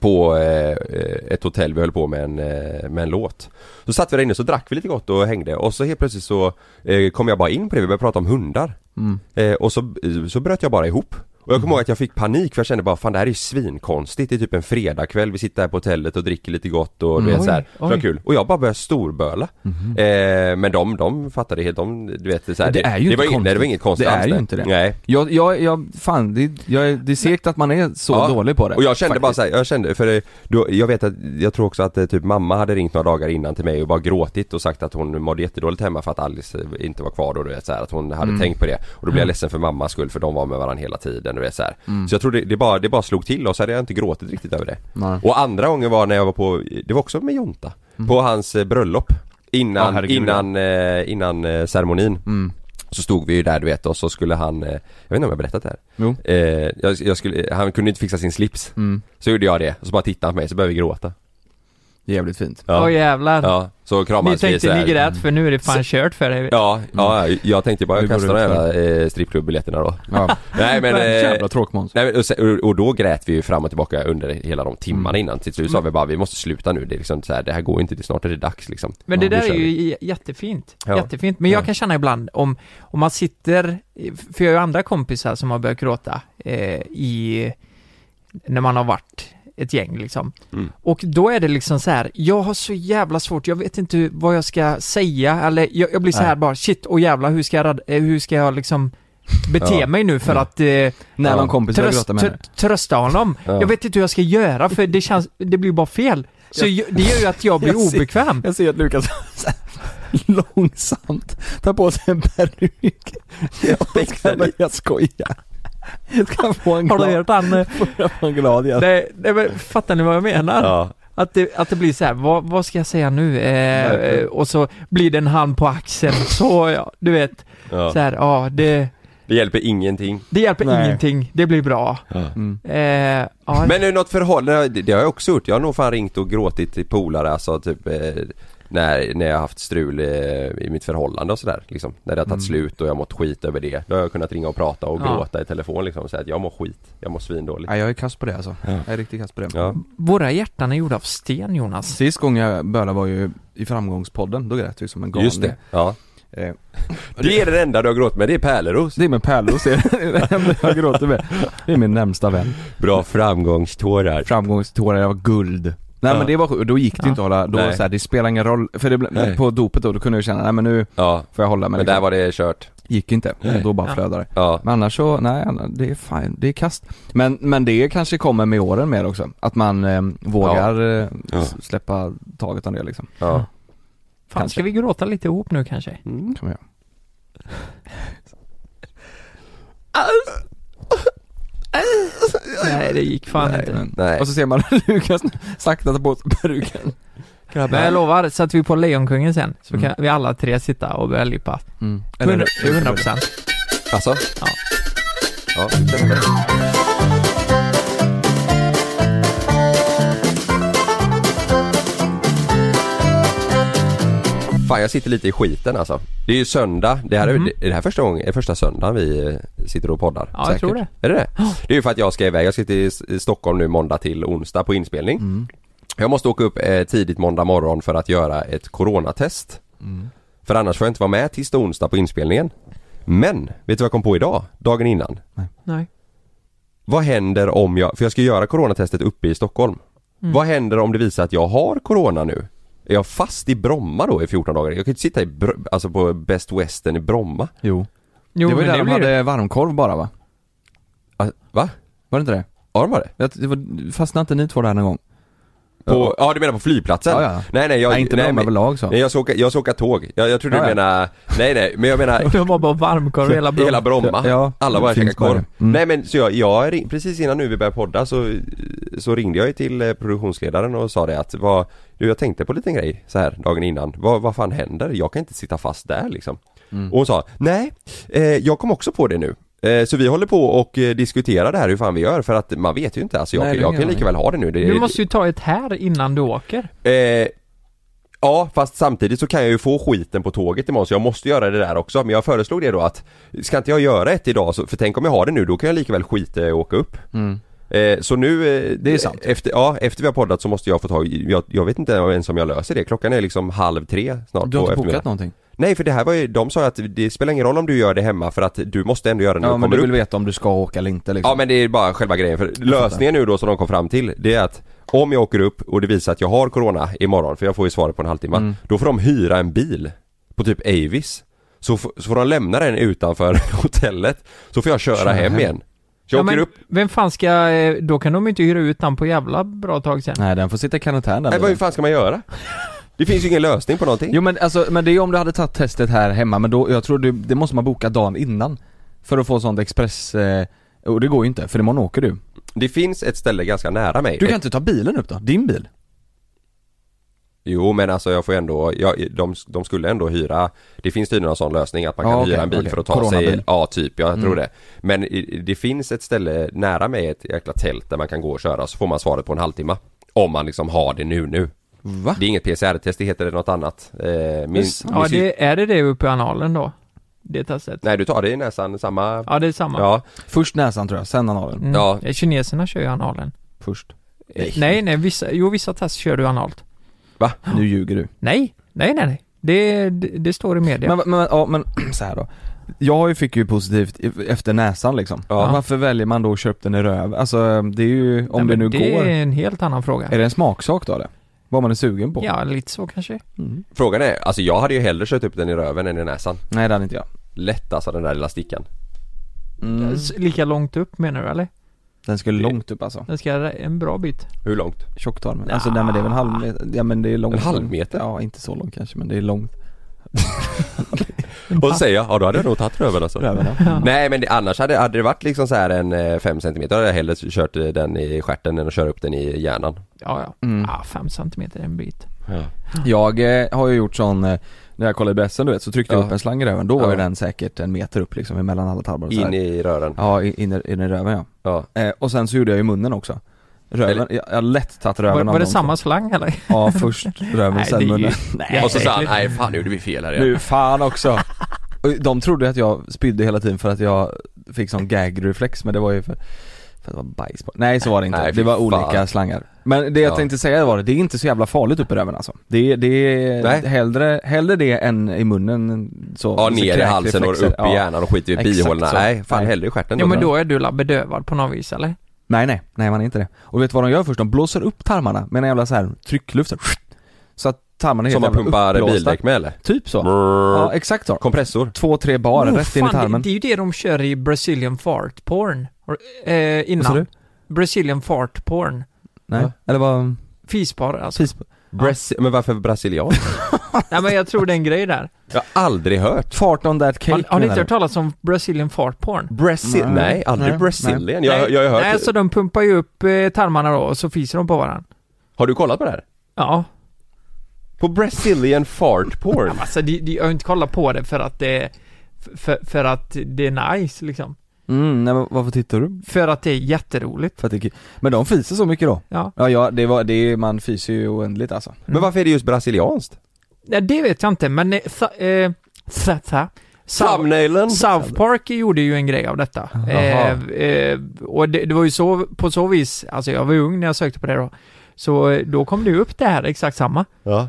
S3: på eh, ett hotell vi höll på med en, eh, med en låt. Så satt vi där inne så drack vi lite gott och hängde och så helt plötsligt så eh, kom jag bara in på det, vi började prata om hundar.
S4: Mm.
S3: Eh, och så, så bröt jag bara ihop. Och jag kommer ihåg att jag fick panik för jag kände bara fan det här är ju svinkonstigt, det är typ en fredagkväll, vi sitter här på hotellet och dricker lite gott och du
S4: Mm.
S3: vet
S4: Oj,
S3: såhär, så
S4: oj. Mhm.
S3: kul. Och jag bara började storböla. Eh, men de, de fattade helt, de, du vet så här,
S4: det är ju
S3: det
S4: inte
S3: var,
S4: konstigt.
S3: Nej, det var inget konstigt
S4: Det
S3: alls
S4: är ju inte det.
S3: Nej.
S4: Jag, jag, jag fan det, jag, är- det är segt att man är så
S3: Ja.
S4: dålig på det
S3: Och jag kände bara såhär, jag kände, för eh, då, jag vet att, jag tror också att eh, typ mamma hade ringt några dagar innan till mig och bara gråtit och sagt att hon mådde jättedåligt hemma för att Alice eh, inte var kvar då du vet så här, att hon hade
S4: Mm.
S3: tänkt på det. Och då blev jag
S4: Mm.
S3: ledsen för mammas skull för de var med varandra hela tiden du vet så här.
S4: Mm.
S3: Så jag tror det, det, bara, det bara slog till och så hade jag inte gråtit riktigt över det.
S4: Nej. Mm.
S3: Och andra gången var när jag var på, det var också med Jonta, på hans eh, bröllop.
S4: Ja,
S3: Innan,
S4: herregud,
S3: innan, eh, innan eh, ceremonin.
S4: Mm.
S3: Så stod vi ju där du vet och så skulle han, eh, jag vet inte om jag har berättat det här.
S4: Jo.
S3: Eh, jag, jag skulle, han kunde inte fixa sin slips.
S4: Mm.
S3: Så gjorde jag det, och så bara tittade han på mig, så började vi gråta.
S4: Jävligt fint.
S3: Ja.
S5: Åh, jävlar.
S3: Ja, så kramas
S5: Ni tänkte
S3: så här.
S5: ni grät för nu är det fan kört för er.
S3: Ja, ja, jag tänkte bara
S5: Vi
S3: kasta de
S5: borde
S3: jävla eh, strippklubbiljetterna då.
S5: Ja.
S3: Nej men... Eh,
S5: Jävla
S4: tråkmåns.
S3: Nej, men, och, sen- och då grät vi ju fram och tillbaka under hela de timmarna
S5: Mm.
S3: innan. Till slut sa vi bara vi måste sluta nu. Det är liksom så här, det här går ju inte, det snart är det dags liksom.
S5: Men det
S3: Ja, nu
S5: där
S3: kör
S5: är ju
S3: vi.
S5: j- jättefint.
S3: Ja.
S5: Jättefint. Men jag kan känna ibland om, om man sitter, för jag har ju andra kompisar som har börjat gråta eh, i, när man har varit ett gäng liksom.
S3: Mm.
S5: Och då är det liksom så här, jag har så jävla svårt, jag vet inte hur- vad jag ska säga eller jag, jag blir så
S4: Nej.
S5: här bara, shit och jävla hur ska jag, rad- eh, hur ska jag liksom bete
S4: Ja.
S5: mig nu för
S4: Ja.
S5: att eh,
S4: När någon kompis börjar
S5: tröst-
S4: gråta med
S5: tr-
S4: henne.
S5: trösta honom.
S4: Ja.
S5: Jag vet inte hur jag ska göra för det känns, det blir bara fel. Så jag, det gör ju att jag blir
S4: Jag ser-
S5: obekväm.
S4: Jag ser att Lukas så här långsamt tar på sig en peruk och ska börja skoja. Ska få en
S5: Har
S4: glad.
S5: du hört han? eh,
S4: Börja få en glad igen.
S5: Nej, nej men fattar ni vad jag menar?
S3: Ja.
S5: Att det, att det blir så här, vad, vad ska jag säga nu? Eh,
S4: Verkligen.
S5: eh, och så blir det en hand på axeln, så ja, du vet.
S3: Ja.
S5: Så här, ja det,
S3: Det hjälper ingenting.
S5: det hjälper
S3: Nej.
S5: ingenting, det blir bra. Eh, ja,
S3: Men nu något förhållande, det- det har jag också gjort. Jag har nog fan ringt och gråtit till polare alltså typ eh, när, när jag har haft strul eh, i mitt förhållande och sådär liksom. När det har tagit
S5: Mm.
S3: slut och jag har mått skit över det. Då har jag kunnat ringa och prata och
S4: Ja.
S3: gråta i telefon liksom och säga att jag mår skit. Jag mår svindåligt.
S4: Nej, jag är kass på det alltså. Jag är riktigt kass på det.
S3: Ja.
S5: våra hjärtan är gjorda av sten Jonas.
S4: Sist gången jag bölade var ju i framgångspodden, då grät jag ju som en galning.
S3: Just det, ja.
S4: Eh,
S3: Det är det enda du har gråtit med, det är Pärleros.
S4: Det är med Pärleros, det är det enda jag gråter med. Det är min närmsta vän.
S3: Bra framgångstårar.
S4: Framgångstårar, jag var guld. Nej
S3: Ja.
S4: men det var sjukt. då gick det
S3: Ja.
S4: inte att hålla, då var det
S3: Nej.
S4: så här, det spelar ingen roll. För det,
S3: Nej.
S4: blev- på dopet då, då kunde jag känna, nej men nu får jag hålla mig. liksom."
S3: Men där var det kört.
S4: Gick inte,
S3: Nej.
S4: då bara
S3: Ja.
S4: flödade det.
S3: Ja.
S4: Men annars så, nej annars- det är fine, det är kast. Men, men det kanske kommer med åren mer också. Att man eh, vågar eh, s- släppa taget om det liksom.
S3: Ja.
S5: Fan, ska vi gråta lite ihop nu kanske?
S4: Kan man göra.
S5: Nej det gick fan inte.
S3: Nej.
S4: Och så ser man Lukas sakta ta på sig peruken.
S5: Men jag lovar, sätter vi på Lejonkungen sen så
S3: Mm.
S5: kan vi alla tre sitta och börja lippa.
S4: Mm. Eller-
S5: 100 procent.
S3: Alltså?
S5: Ja.
S3: Ja, vi kör på det. Fan jag sitter lite i skiten alltså. Det är ju söndag, det här är,
S5: Mhm.
S3: är det här första gången, är första söndagen vi eh, sitter och poddar?
S5: Ja, jag tror det.
S3: Är det det? Det är ju för att jag ska iväg, jag ska till S- Stockholm nu måndag till onsdag på inspelning.
S5: Mm.
S3: Jag måste åka upp eh, tidigt måndag morgon för att göra ett coronatest. För annars får jag inte vara med tisdag och onsdag på inspelningen. Men, vet du vad jag kom på idag? Dagen innan.
S5: Nej.
S3: Vad händer om jag, för jag ska göra coronatestet uppe i Stockholm.
S4: Mm.
S3: Vad händer om det visar att jag har corona nu? Är jag fast i Bromma då i 14 dagar? Jag kan ju inte sitta i, Br- alltså på Best Western i Bromma.
S4: Jo.
S5: Jo,
S4: det var ju där
S5: men det
S4: de
S5: blir
S4: hade varmkorv bara va?
S3: Ah, Va?
S4: Var det inte det?
S3: Ja de var det.
S4: Jag, det var, fastnade inte ni två där någon gång?
S3: På, ja du menar på flygplatsen?
S4: Ja, ja.
S3: Nej nej jag,
S4: Nej, inte Bromma
S3: men-
S4: överlag, så.
S3: Nej jag ska åka, jag ska åka tåg. Jag, jag trodde
S4: Ja,
S3: du
S4: ja.
S3: menar, nej nej men jag menar
S5: De var bara varmkorv i hela Bromma.
S3: Hela Bromma.
S4: Ja,
S3: Alla
S4: det Mm.
S3: bara
S4: finns
S3: käkar korv.
S4: bara
S3: Nej men så jag, jag ring, precis innan nu vi började podda så, så ringde jag ju till eh, produktionsledaren och sa det att vad, du jag tänkte på en liten grej så här dagen innan. Vad, vad fan händer? Jag kan inte sitta fast där liksom.
S5: Mm.
S3: Och hon sa, nej, eh, jag kom också på det nu. Eh, Så vi håller på och eh, diskuterar det här hur fan vi gör för att man vet ju inte alltså jag,
S5: Nej,
S3: kan-
S5: det
S3: jag
S5: kan
S3: kan
S5: jag
S3: lika väl ha det nu. Det,
S5: Du måste ju ta ett här innan du åker.
S3: Eh, ja, fast samtidigt så kan jag ju få skiten på tåget imorgon så jag måste göra det där också. Men jag föreslog det då att ska inte jag göra ett idag? Så, för tänk om jag har det nu, då kan jag lika väl skita i att åka upp.
S4: Mm.
S3: Eh, så nu... Eh, det är sant. Efter, ja, efter vi har poddat så måste jag få tag i- jag, jag vet inte ens om jag löser det. Klockan är liksom halv tre snart
S4: Du
S3: på
S4: har inte
S3: eftermiddagen.
S4: bokat någonting?
S3: Nej för det här var ju, de sa ju att det spelar ingen roll om du gör det hemma för att du måste ändå göra det när
S4: Ja
S3: du
S4: men
S3: kommer
S4: du
S3: upp.
S4: vill veta om du ska åka eller inte liksom.
S3: Ja men det är bara själva grejen för lösningen nu då som de kom fram till det är att om jag åker upp och det visar att jag har corona imorgon för jag får ju svaret på en halvtimme
S4: Mm.
S3: då får de hyra en bil på typ Avis så, f- så får de lämna den utanför hotellet så får jag köra,
S4: Köra
S3: hem,
S4: hem.
S3: igen. Så jag åker
S5: men
S3: upp
S5: Vem fan ska, eh, då kan de inte hyra ut den på jävla bra tag sen.
S4: Nej den får sitta i karantän där
S3: Nej vad fan ska man göra? Det finns ju ingen lösning på någonting.
S4: Jo men alltså, men det är om du hade tagit testet här hemma men då, jag tror du, det måste man boka dagen innan. För att få sånt express, eh, och det går ju inte för imorgon åker du.
S3: Det finns ett ställe ganska nära mig.
S4: Du kan inte ta bilen upp då? Din bil?
S3: Jo men alltså jag får ändå, jag, de, de skulle ändå hyra Det finns tydligen en sån lösning att man kan
S4: Ja, okej,
S3: hyra en bil
S4: okej.
S3: för att ta sig
S4: Coronabil.
S3: Ja typ, jag
S4: Mm.
S3: tror det Men i- det finns ett ställe nära mig, ett jäkla tält där man kan gå och köra så får man svaret på en halvtimme Om man liksom har det nu nu Det är inget PCR-test, det heter något annat. Eh, min, min
S5: ja,
S3: sy-
S5: det, är det det uppe i analen då? Det testet?
S3: Nej, du tar det i näsan, samma...
S5: Ja, det är samma.
S3: Ja.
S4: Först näsan tror jag, sen analen.
S5: Mm. Ja. Kineserna kör ju analen.
S4: Först.
S5: Nej, nej, vissa, jo vissa test kör du analt.
S3: Va?
S4: Nu ljuger du.
S5: Nej, nej, nej, nej. Det, det, det står i media.
S4: Men, men, ja, men så här då. Jag har ju fick ju positivt i- efter näsan liksom.
S5: Ja.
S4: Varför väljer man då att köra upp den i röv? Alltså det är ju, om det
S5: Nej, men
S4: nu
S5: det
S4: går.
S5: är en helt annan fråga.
S4: Är det en smaksak då eller? Vad man är sugen på?
S5: Ja, lite så kanske. Mm.
S3: Frågan är, alltså jag hade ju hellre kört upp den i röven än i näsan.
S4: Nej, det hade inte jag.
S3: Lätt alltså den där lilla stickan.
S5: Lika långt upp menar du eller?
S4: Den skulle långt upp alltså.
S5: Den ska en bra bit.
S3: Hur långt?
S4: Tjocktarmen. Alltså nej men det är väl en halv meter. Ja men det är långt.
S3: En halv meter?
S4: Ja, inte så långt kanske men det är långt.
S3: Och så säger jag, ja då hade jag nog tagit röven alltså.
S4: Röven,
S3: Nej men det, annars hade, hade det varit liksom så här en 5 cm, då hade jag hellre kört eh, den i stjärten än att köra upp den i hjärnan.
S5: Ja, ja. Ah, fem centimeter är en bit.
S4: Jag eh, har ju gjort sån, eh, när jag kollade i pressen du vet, så tryckte jag upp en slang i röven. Då var
S3: Ja.
S4: ju den säkert en meter upp liksom emellan alla tarmar och så
S3: In
S4: här.
S3: i rören.
S4: Ja, i- in, i- in i röven
S3: ja.
S4: Eh, och sen så gjorde jag i munnen också. Röven, jag jag har lätt tagit röven
S5: Var,
S4: av
S5: var det
S4: någon.
S5: samma slang eller?
S4: Ja, först röven,
S5: Nej, det
S4: sen
S5: är ju
S4: munnen.
S5: Nej. Och så sa han, "Nej,
S3: fan nu gjorde vi fel här igen."
S4: Nu, fan också. Och De trodde att jag spydde hela tiden för att jag fick sån gag-reflex men det var ju för, för att det var bajs på. Nej så var det inte,
S3: Nej, fy
S4: det var
S3: fan.
S4: olika slangar. Men det jag
S3: Ja.
S4: tänkte säga var det, det är inte så jävla farligt upp i röven alltså. Det, är- det
S3: Nej.
S4: är hellre, hellre det än i munnen så.
S3: Ja
S4: så
S3: ner i
S4: kräkreflexer.
S3: halsen och upp i hjärnan och skiter i
S4: Exakt
S3: bihålorna.
S4: så.
S3: Nej, fan hellre i stjärten
S5: Ja men
S4: tror
S5: då är du la bedövad på något vis eller?
S4: Nej nej, nej man är inte det. Och vet du vad de gör först? De blåser upp tarmarna med en jävla så här tryckluft så, här, så att tarmarna är
S3: Som man
S4: helt jävla
S3: pumpar
S4: uppblåsta.
S3: bildäck med eller?
S4: Typ så. Ja exakt så.
S3: Kompressor.
S4: Två, tre bar
S5: Oh,
S4: rätt in i
S5: fan,
S4: tarmen.
S5: Det, det är ju det de kör i Brazilian fart porn. Har- Eh,
S4: Vad sa
S5: innan.
S4: du?
S5: Brazilian fart porn.
S4: Nej,
S5: Ja.
S4: eller vad?
S5: Fispar alltså.
S4: Fispar.
S3: Bras- Men varför brasilian?
S5: Nej men jag tror det är en grej där.
S3: Jag har aldrig hört.
S4: Fart on that cake
S5: Har, har ni inte
S4: menar
S5: hört talas om Brazilian fart porn?
S3: Brasi- Nej. Nej, aldrig Nej. Brazilian. Jag- jag har hört-
S5: Nej, alltså- så de pumpar ju upp eh, tarmarna då och så fiser de på varandra.
S3: Har du kollat på det här?
S5: Ja.
S3: På Brazilian fart porn?
S5: alltså, de, de, jag har inte kollat på det för att det för, för att det är nice liksom.
S4: du? Mm, nej, men varför tittar du?
S5: För att det är jätteroligt.
S4: För att det är kul. Men de fiser så mycket då?
S5: Ja.
S4: Ja, ja det var, det, är- man fiser ju oändligt alltså.
S3: Men varför är det just brasilianskt?
S5: Nej, det vet jag inte, men... eh, Sa, eh, sa, sa,
S3: Thumbnailen.
S5: South Park gjorde ju en grej av detta.
S3: Jaha.
S5: Eh, eh, och det, det var ju så, på så vis, alltså jag var ju ung när jag sökte på det då. Så eh, då kom det ju upp det här, exakt samma.
S3: Ja.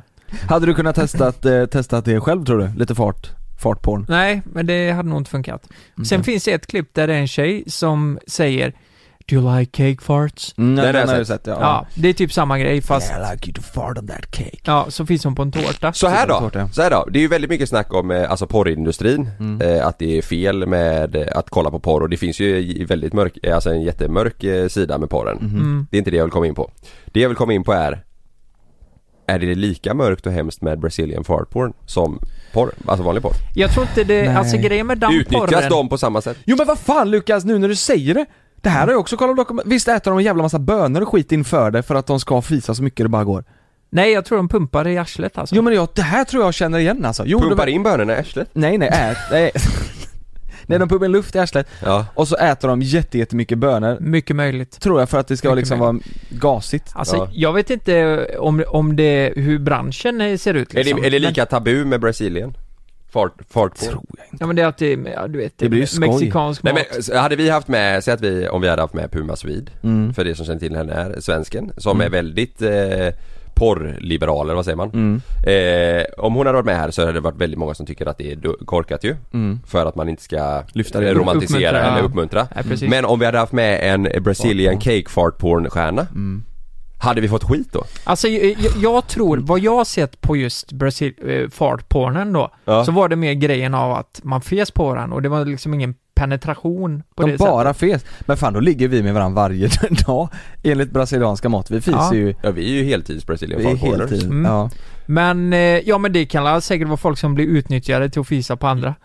S4: Hade du kunnat testat, eh, testat det själv tror du? Lite fart, fartporn?
S5: Nej, men det hade nog inte funkat.
S3: Mm.
S5: Sen finns det ett klipp där det är en tjej som säger Do you like cake farts?
S4: Mm, Den den har jag har jag sett. sett, ja.
S5: det är typ samma grej fast...
S4: I like you to fart on that cake.
S5: Ja, så finns hon på en tårta.
S3: Så här då, så här då. Det är ju väldigt mycket snack om eh, alltså porrindustrin, eh, att det är fel med eh, att kolla på porr och det finns ju i- väldigt mörk, eh, alltså en jättemörk eh, sida med porren.
S5: Mhm.
S3: Det är inte det jag vill komma in på. Det jag vill komma in på är är det lika mörkt och hemskt med Brazilian fart porn som porr? Alltså vanlig porr?
S5: Jag tror inte det,
S4: Nej.
S5: alltså grejen med dammporren...
S3: Utnyttjas de på samma sätt?
S4: Jo men vad fan Lukas, nu när du säger det! Det här har jag också kollat på dokument- Visst äter de en jävla massa bönor och skit inför det för att de ska fisa så mycket det bara går?
S5: Nej, jag tror de pumpar det i arslet alltså.
S4: Jo men jag, det här tror jag känner igen alltså. Jo,
S3: Pumpar
S4: de-
S3: in bönorna i arslet?
S4: Nej nej, ät, nej. nej de pumpar in luft i arslet
S3: Ja.
S4: och så äter de jätte, jättemycket bönor.
S5: Mycket möjligt.
S4: Tror jag för att det ska
S5: Mycket
S4: liksom vara gasigt.
S5: Alltså, jag vet inte om, om det, hur branschen eh, ser ut
S3: Är
S5: liksom.
S3: det, är det
S5: Men-
S3: lika tabu med Brazilian? Fart, fart porn?
S5: Ja men det Oh, är att det, är- ja, du vet,
S3: Det blir ju skoj.
S4: Typ
S5: mexikansk
S3: Nej,
S5: mat.
S3: men, s- hade vi haft med, säg att vi, om vi hade haft med Puma Swede,
S4: Mm.
S3: för det som känner till henne är svensken, som
S4: Mm.
S3: är väldigt eh, porrliberaler, vad säger man?
S4: Mm.
S3: Eh, om hon hade varit med här så hade det varit väldigt många som tycker att det är du- korkat ju.
S4: Mm.
S3: För att man inte ska
S4: Lyfta det.
S3: romantisera
S4: Uppmuntra.
S3: eller uppmuntra.
S4: Ja, precis.
S3: Men om vi hade haft med en Brazilian cake fart porn stjärna
S4: Mm.
S3: Hade vi fått skit då?
S5: Alltså jag, jag- jag
S3: Mm.
S5: tror, vad jag har sett på just Brasil, eh, fartpornen då,
S3: Ja.
S5: så var det mer grejen av att man fes på varandra och det var liksom ingen penetration på
S4: De
S5: det
S4: bara fes. Men fan då ligger vi med varandra varje dag enligt brasilianska mått. Vi fiser
S5: Ja.
S4: ju
S3: Ja vi är ju heltids Brazilian
S4: Vi är
S3: fart porners.
S4: heltid,
S5: Mm.
S4: ja.
S5: sättet. Men, eh, ja men det kan la- säkert vara folk som blir utnyttjade till att fisa på andra.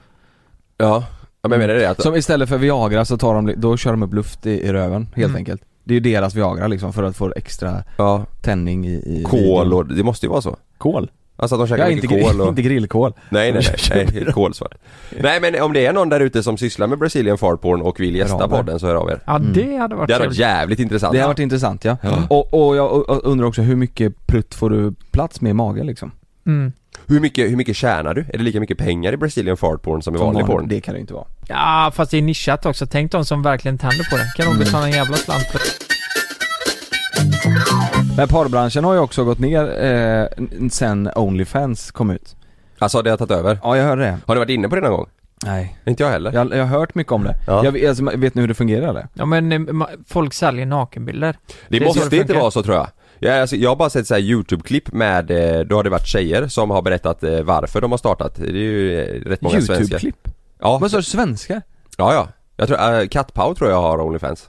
S3: Ja, ja men jag menar det att
S4: Som istället för Viagra så tar de, då kör de upp luft i, i röven helt
S3: Mm.
S4: enkelt. Det är ju deras Viagra liksom för att få extra
S3: ja.
S4: tändning i, i
S3: Kol och, det måste ju vara så
S4: Kol?
S3: Alltså att de käkar
S4: Ja,
S3: mycket
S4: inte gri-
S3: kol och...
S4: inte grillkål.
S3: Nej nej nej, nej kolsvart. Nej men om det är någon där ute som sysslar med Brazilian farporn och vill
S4: Hör
S3: gästa
S4: av er.
S3: podden så hör av er.
S5: Ja, det hade varit
S3: Det hade varit
S5: trevligt.
S3: jävligt intressant.
S4: Det har varit intressant ja. Och, och jag och- och undrar också hur mycket prutt får du plats med i magen liksom?
S5: Mm.
S3: Hur mycket, hur mycket tjänar du? Är det lika mycket pengar i Brazilian fartporn som i
S4: Som
S3: vanlig
S4: vanlig,
S3: porn?
S4: det kan det inte vara.
S5: Ja, fast det är nischat också. Tänk de som verkligen tänder på det. Kan
S3: Mm.
S5: de betala en jävla slant för
S4: Men porrbranschen har ju också gått ner eh, n- sen Onlyfans kom ut.
S3: Alltså det har tagit över?
S4: Ja jag hörde det.
S3: Har du varit inne på det någon gång?
S4: Nej.
S3: Inte jag heller.
S4: Jag, jag har hört mycket om det.
S3: Ja.
S4: Jag, vet- alltså, vet ni hur det fungerar eller?
S5: Ja men eh, ma- folk säljer nakenbilder.
S3: Det,
S5: är så
S3: måste inte
S5: funkar.
S3: vara så tror jag. Jag, alltså, jag har bara sett så här YouTube-klipp med, eh, då har det varit tjejer som har berättat eh, varför de har startat. Det är ju eh, rätt många svenskar.
S4: YouTube-klipp?
S3: Ja.
S4: Vad sa du, svenskar?
S3: Ja, ja. Jag tror, äh, Kattpau tror jag har Onlyfans.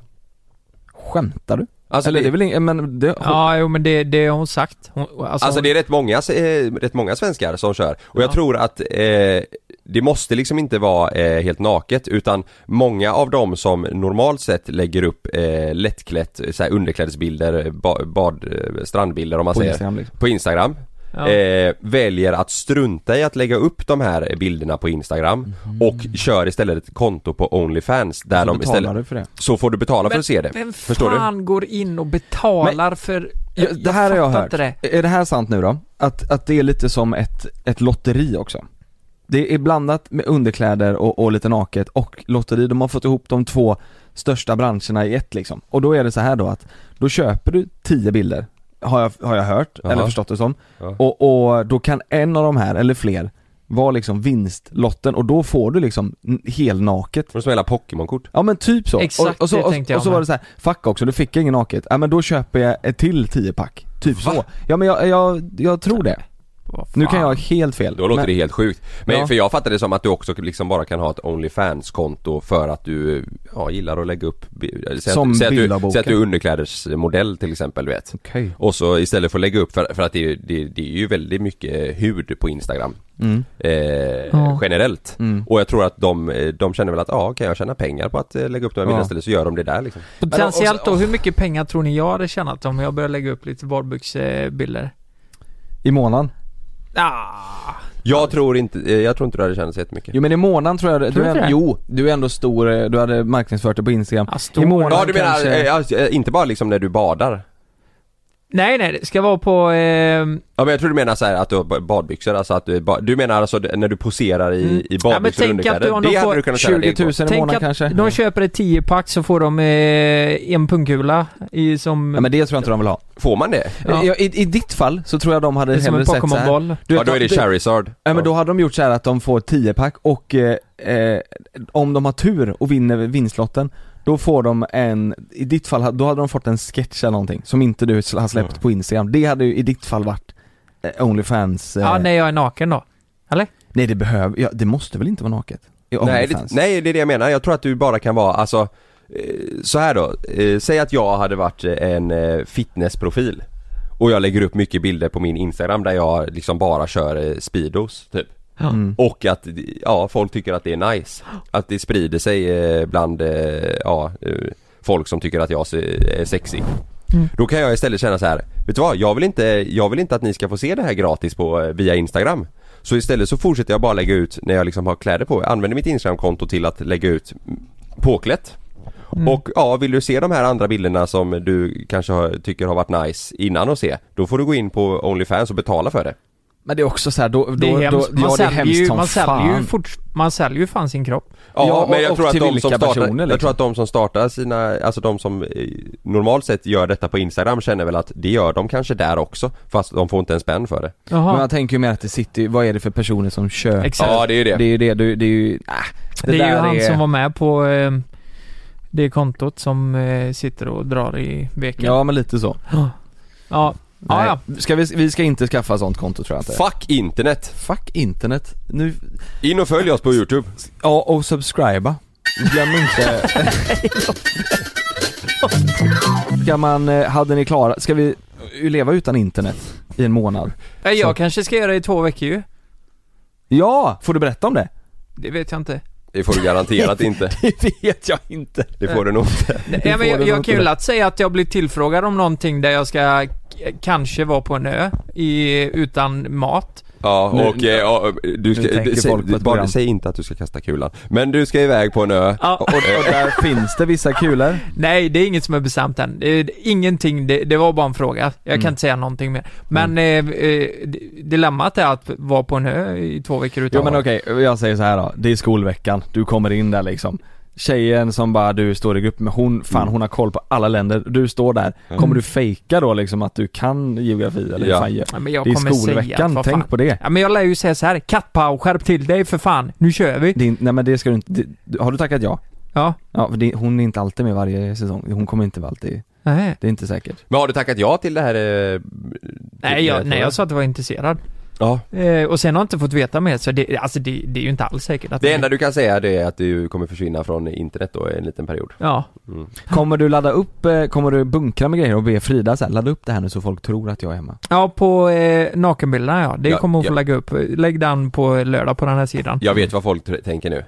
S4: Skämtar du?
S3: Alltså,
S4: eller
S3: det-
S4: det, är väl ing- men det,
S5: Ja, jo men det, det har hon sagt. Hon,
S3: Alltså, det är rätt många, eh, rätt många svenskar som kör. Och jag tror att eh, det måste liksom inte vara eh, helt naket utan många av dem som normalt sett lägger upp eh, lättklätt, eh, så här underklädesbilder, eh, ba, bad, eh, strandbilder om man
S4: På
S3: säger.
S4: Instagram, liksom.
S3: På Instagram.
S4: Ja.
S3: Eh, väljer att strunta i att lägga upp de här bilderna på Instagram och kör istället ett konto på Onlyfans där
S4: Mhm. Så
S3: de
S4: betalar
S3: istället...
S4: du för det.
S3: Så får du betala för att se det.
S5: Vem
S3: Förstår du?
S5: fan går in och betalar för...
S4: Ja, det här har jag
S5: fattar
S4: hört.
S5: inte det.
S4: Är det här sant nu då? Att, att det är lite som ett, ett lotteri också? Det är blandat med underkläder och, och lite naket och lotteri, de har fått ihop de två största branscherna i ett liksom. Och då är det så här då att, då köper du 10 bilder, har jag, har jag hört,
S3: Jaha.
S4: eller förstått det som.
S3: Ja.
S4: Och, och då kan en av de här, eller fler, vara liksom vinstlotten och då får du liksom n- helnaket.
S3: Som hela Pokémon-kort.
S4: Ja men typ så.
S5: Exakt,
S4: och, och så,
S5: det tänkte jag
S4: Och, och så
S5: med.
S4: var det så här, fuck också, du fick ingen naket. Ja men då köper jag ett till 10 pack. Typ så. Ja men jag, jag, jag tror det. Nu kan jag ha helt fel.
S3: Då låter
S4: men,
S3: det helt sjukt. Men
S4: Ja.
S3: för jag fattade det som att du också liksom bara kan ha ett Onlyfans-konto för att du ja, gillar att lägga upp bi- säg att-
S4: Som
S3: säg att,
S4: bild av
S3: du,
S4: boken.
S3: säg att du är underklädesmodell till exempel, du vet.
S4: Okej.
S3: Och så istället för att lägga upp, för, för att det, är- det, det är ju väldigt mycket eh, hud på Instagram.
S4: Mm.
S3: Eh,
S4: Ja.
S3: Generellt.
S4: Mm.
S3: Och jag tror att de, eh, de känner väl att ja, kan jag tjäna pengar på att eh, lägga upp de här
S4: Ja.
S3: bilderna istället så gör de det där liksom.
S5: Potentiellt då, hur mycket pengar tror ni jag hade tjänat om jag började lägga upp lite badbyxbilder?
S4: I månaden?
S5: Ah.
S3: Jag tror inte, eh, jag tror inte du hade tjänat så jättemycket.
S4: Jo men i månaden tror jag det-
S3: Tror du
S4: du
S3: inte
S4: är,
S3: det?
S4: Jo, du är ändå stor, eh, du hade marknadsfört det på Instagram. I månaden
S3: ja, du menar,
S4: kanske...
S3: eh, alltså, eh, inte bara liksom när du badar?
S5: Nej nej, det ska vara på... Eh,
S3: Ja men jag tror du menar så här att du har ba- badbyxor, alltså att du, är ba- du menar alltså d- när du poserar i, i
S5: ja, men
S3: badbyxor och
S5: tänk att
S3: underkläder?
S5: om
S3: det
S5: de
S3: hade
S5: får
S3: du kunnat tjäna dig på.
S5: tänk att de köper ett 10-pack så får de eh, en pungkula i som...
S4: Ja men det tror jag inte de vill ha.
S3: Får man det?
S5: Ja.
S4: Ja. I, i ditt fall så tror jag de hade
S5: Det är som
S4: hellre
S5: en
S4: sett så här.
S5: Pokémon-boll.
S4: Du vet,
S3: Ja, då är det
S4: de-
S3: Charizard.
S4: Ja men då hade de gjort så här att de får 10 pack och eh, eh, om de har tur och vinner vinstlotten då får de en, i ditt fall, då hade de fått en sketch eller någonting som inte du sl- har släppt
S3: Mm.
S4: på Instagram. Det hade ju i ditt fall varit eh, Onlyfans... Eh,
S5: Ja, när jag är naken då. Eller?
S4: nej det behöver, ja, det måste väl inte vara naket? I
S3: Nej
S4: Onlyfans?
S3: det, nej det är det jag menar, jag tror att du bara kan vara, alltså eh, så här då, eh, säg att jag hade varit eh, en eh, fitnessprofil och jag lägger upp mycket bilder på min Instagram där jag liksom bara kör eh, speedos typ
S4: Mm.
S3: Och att, ja, folk tycker att det är nice. Att det sprider sig eh, bland, eh, ja, eh, folk som tycker att jag se- är sexig.
S5: Mm.
S3: Då kan jag istället känna så här, vet du vad? Jag vill inte, jag vill inte att ni ska få se det här gratis på, eh, via Instagram. Så istället så fortsätter jag bara lägga ut när jag liksom har kläder på. Jag använder mitt Instagramkonto till att lägga ut mm, påklätt. Och ja, vill du se de här andra bilderna som du kanske har, tycker har varit nice innan att se, då får du gå in på Onlyfans och betala för det.
S4: Men det är också så här, då, då,
S5: Det är hemskt.
S4: då,
S5: man,
S4: ja det är
S5: säljer
S4: hemskt
S5: ju,
S4: som
S5: man, säljer ju
S4: fan.
S5: fort, man säljer ju fan sin kropp.
S3: Ja,
S4: Ja,
S3: men
S4: och-
S3: jag
S4: och
S3: tror, att
S4: till
S3: de
S4: vilka
S3: som startar,
S4: personer, liksom?
S3: jag tror att de som startar sina, alltså de som eh, normalt sett gör detta på Instagram känner väl att det gör de kanske där också fast de får inte en spänn för det.
S4: Men jag tänker ju mer att det sitter ju- vad är det för personer som köper?
S5: Exakt.
S3: Ja, det är ju det.
S4: Det är ju det, du, det är ju, ah,
S5: Det, är ju
S4: där
S5: han som var med på eh, det kontot som eh, sitter och drar i veken.
S4: Ja men lite så.
S5: Ja.
S4: Nej.
S5: Ja,
S4: Ah, Ska vi, vi ska inte skaffa sånt konto tror jag inte.
S3: Fuck internet!
S4: Fuck internet. Nu...
S3: In och följ oss på Youtube.
S4: Ja och subscriba. Glöm inte... ska man, eh, hade ni klarat, ska vi eh, leva utan internet i en månad?
S5: ja. Nej, Jag kanske ska göra det i två veckor ju.
S4: Ja! Får du berätta om det?
S5: Det vet jag inte.
S3: Det får du garanterat inte.
S4: det vet jag inte.
S3: Det får du nog inte.
S5: Nej, men jag, jag kan ju lätt säga att jag blir tillfrågad om någonting där jag ska k- kanske var på en ö i, utan mat.
S3: Ja,
S5: Nu-
S3: och, eh, ja, du ska,
S5: nu tänker
S3: du, säg,
S5: folk på ett
S3: bara,
S5: program.
S3: säg inte att du ska kasta kulan. Men du ska iväg på en ö.
S5: Ja.
S3: Och, och
S4: där finns det vissa kulor.
S5: Nej, det är inget som är bestämt än. Det är Ingenting, det, det var bara en fråga. Jag kan
S4: Mm.
S5: inte säga någonting mer. Men eh, eh, d- dilemmat är att vara på en ö i två veckor utan
S4: Jo men
S5: mat.
S4: okej, jag säger så här då. Det är skolveckan, du kommer in där liksom Tjejen som bara du står i grupp med, hon, fan hon har koll på alla länder, du står där. Kommer du fejka då liksom att du kan geografi eller
S5: Ja.
S4: ja. fan, ge-
S5: Ja, men jag
S4: Det är
S5: kommer säga att,
S4: skolveckan,
S5: vad fan.
S4: tänk på det.
S5: Ja, men jag lär ju säga så här, Kattpau, skärp till dig för fan, nu kör vi.
S4: Din, nej men det ska du inte, det, har du tackat ja?
S5: Ja.
S4: Ja, för det, hon är inte alltid med varje säsong, hon kommer inte vara alltid
S5: Nej.
S4: Det är inte säkert.
S3: Men har du tackat ja till det här? eh,
S5: Nej, jag, nej, jag sa att jag var intresserad.
S3: Ja.
S5: Eh, och sen har jag inte fått veta mer, så det, alltså det, det är ju inte alls säkert att
S3: Det enda du kan säga det är att du kommer försvinna från internet då en liten period.
S5: Ja.
S3: Mm.
S4: Kommer du ladda upp, eh, kommer du bunkra med grejer och be Frida så här, ladda upp det här nu så folk tror att jag är hemma?
S5: Ja, på eh, nakenbilderna ja. Det
S3: Ja,
S5: kommer hon få
S3: ja.
S5: lägga upp. Lägg den på lördag på den här sidan.
S3: Jag vet vad folk tr- tänker nu.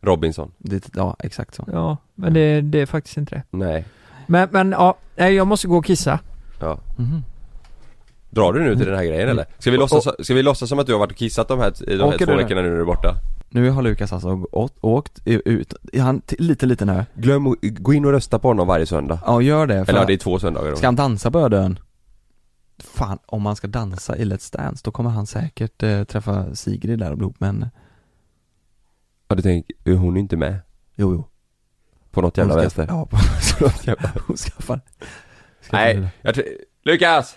S3: Robinson.
S4: Det, ja, exakt så.
S5: Ja, men det, det är faktiskt inte det.
S3: Nej.
S5: Men, men ja, nej, jag måste gå och kissa.
S3: Ja.
S5: Mhm.
S3: Drar du nu till den här grejen eller? Ska vi låtsas, ska vi låtsas som att du har varit och kissat de här, de här
S4: Åker
S3: två
S4: du nu?
S3: veckorna nu när du är borta?
S4: Nu har Lukas alltså åkt, åkt ut, är han till, lite liten ö?
S3: Glöm att gå in och rösta på honom varje söndag.
S4: Ja, gör det. för-
S3: Eller ja, det är två söndagar då.
S4: Ska han dansa på Ödön? Fan, om han ska dansa i Let's Dance då kommer han säkert eh, träffa Sigrid där och bli ihop med henne.
S3: Ja du tänker, hon är inte med?
S4: Jo, jo.
S3: På något jävla
S4: Hon ska-
S3: vänster?
S4: Ja, på på något jävla... Hon skaffar... skaffar
S3: Nej, jag tr- Lukas!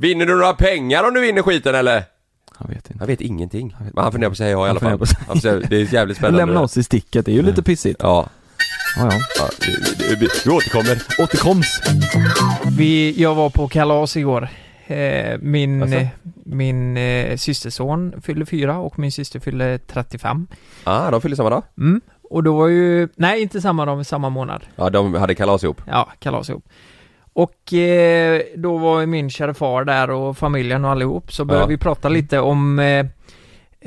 S3: Vinner du några pengar om du vinner skiten eller?
S4: Han vet inte.
S3: Han vet ingenting. Men han funderar på att säga ja i
S4: Han
S3: alla fall.
S4: funderar på att säga
S3: Han funderar- Det är jävligt spännande. Mm.
S4: Lämna oss i sticket, det är ju lite pissigt.
S3: Ja.
S4: Ja, ja.
S3: ja vi, vi, vi återkommer.
S4: Återkoms.
S5: Vi, jag var på kalas igår. Eh, min
S3: Alltså?
S5: eh, min eh, systerson fyllde fyra och min syster fyllde 35.
S3: Ah, de fyller samma dag?
S5: Mm. Och då var ju, nej inte samma dag, men samma månad.
S3: Ja, de hade kalas ihop.
S5: Ja, kalas ihop. Och eh, då var ju min kära far där och familjen och allihop, så började
S3: Ja.
S5: vi prata lite om eh,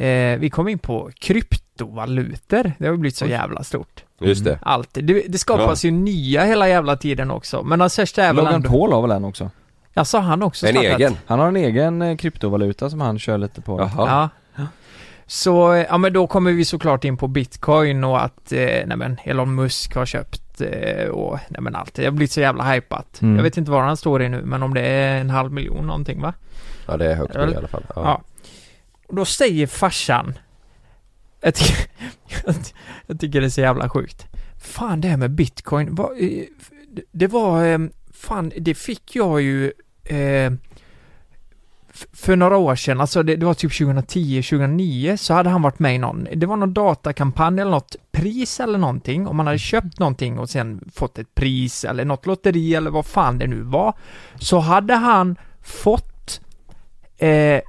S5: eh, Vi kom in på kryptovalutor, det har ju blivit så
S3: Oj.
S5: jävla stort.
S4: Mm.
S3: Just det.
S5: Alltid. Det, det skapas ju nya hela jävla tiden också, men Azesh är väl
S4: Logan
S5: ändå...
S4: Paul har väl en också?
S5: Ja, sa han också startat?
S4: Han har en egen eh, kryptovaluta som han kör lite på.
S5: Ja. Så, eh, ja men då kommer vi såklart in på bitcoin och att, eh, nej men Elon Musk har köpt eh, och, nej men allt. Det har blivit så jävla hypat.
S3: Mm.
S5: Jag vet inte var han står i nu, men om det är en halv miljon någonting va?
S3: Ja, det är högt nu i alla fall.
S5: Ja.
S3: Ja.
S5: Och då säger farsan, jag tycker, jag tycker det är så jävla sjukt. Fan det här med bitcoin, vad, eh, det- det var, eh, fan det fick jag ju eh, f- för några år sedan, alltså det, det var typ 2010, 2009 så hade han varit med i någon, det var någon datakampanj eller något pris eller någonting, om man hade köpt någonting och sen fått ett pris eller något lotteri eller vad fan det nu var, så hade han fått eh,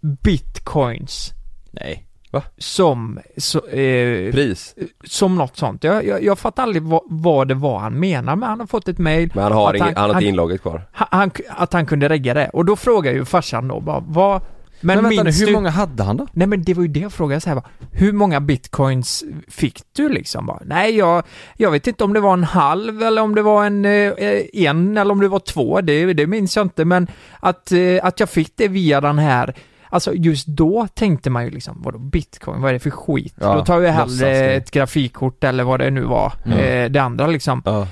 S5: bitcoins.
S4: Nej.
S3: Va?
S5: Som... Så, eh,
S3: Pris?
S5: Som något sånt. Jag, jag, jag fattar aldrig vad, vad det var han menar men han har fått ett mail.
S3: Men han har,
S5: att
S3: ingen, han har inte inlogget kvar.
S5: han, han, Att han kunde regga det. Och då frågar ju farsan då bara, vad...
S4: Men, vänta nu,
S5: minns
S4: hur
S5: du-
S4: många hade han då?
S5: Nej men det var ju det jag frågade så här bara, Hur många bitcoins fick du liksom? Bara, Nej jag, jag vet inte om det var en halv eller om det var en, eh, en eller om det var två. Det, det minns jag inte men att, eh, att jag fick det via den här Alltså just då tänkte man ju liksom, vadå bitcoin, vad är det för skit?
S4: Ja,
S5: då tar jag hellre
S4: låtsasgrej.
S5: ett grafikkort eller vad det nu var,
S4: Ja.
S5: eh, det andra liksom.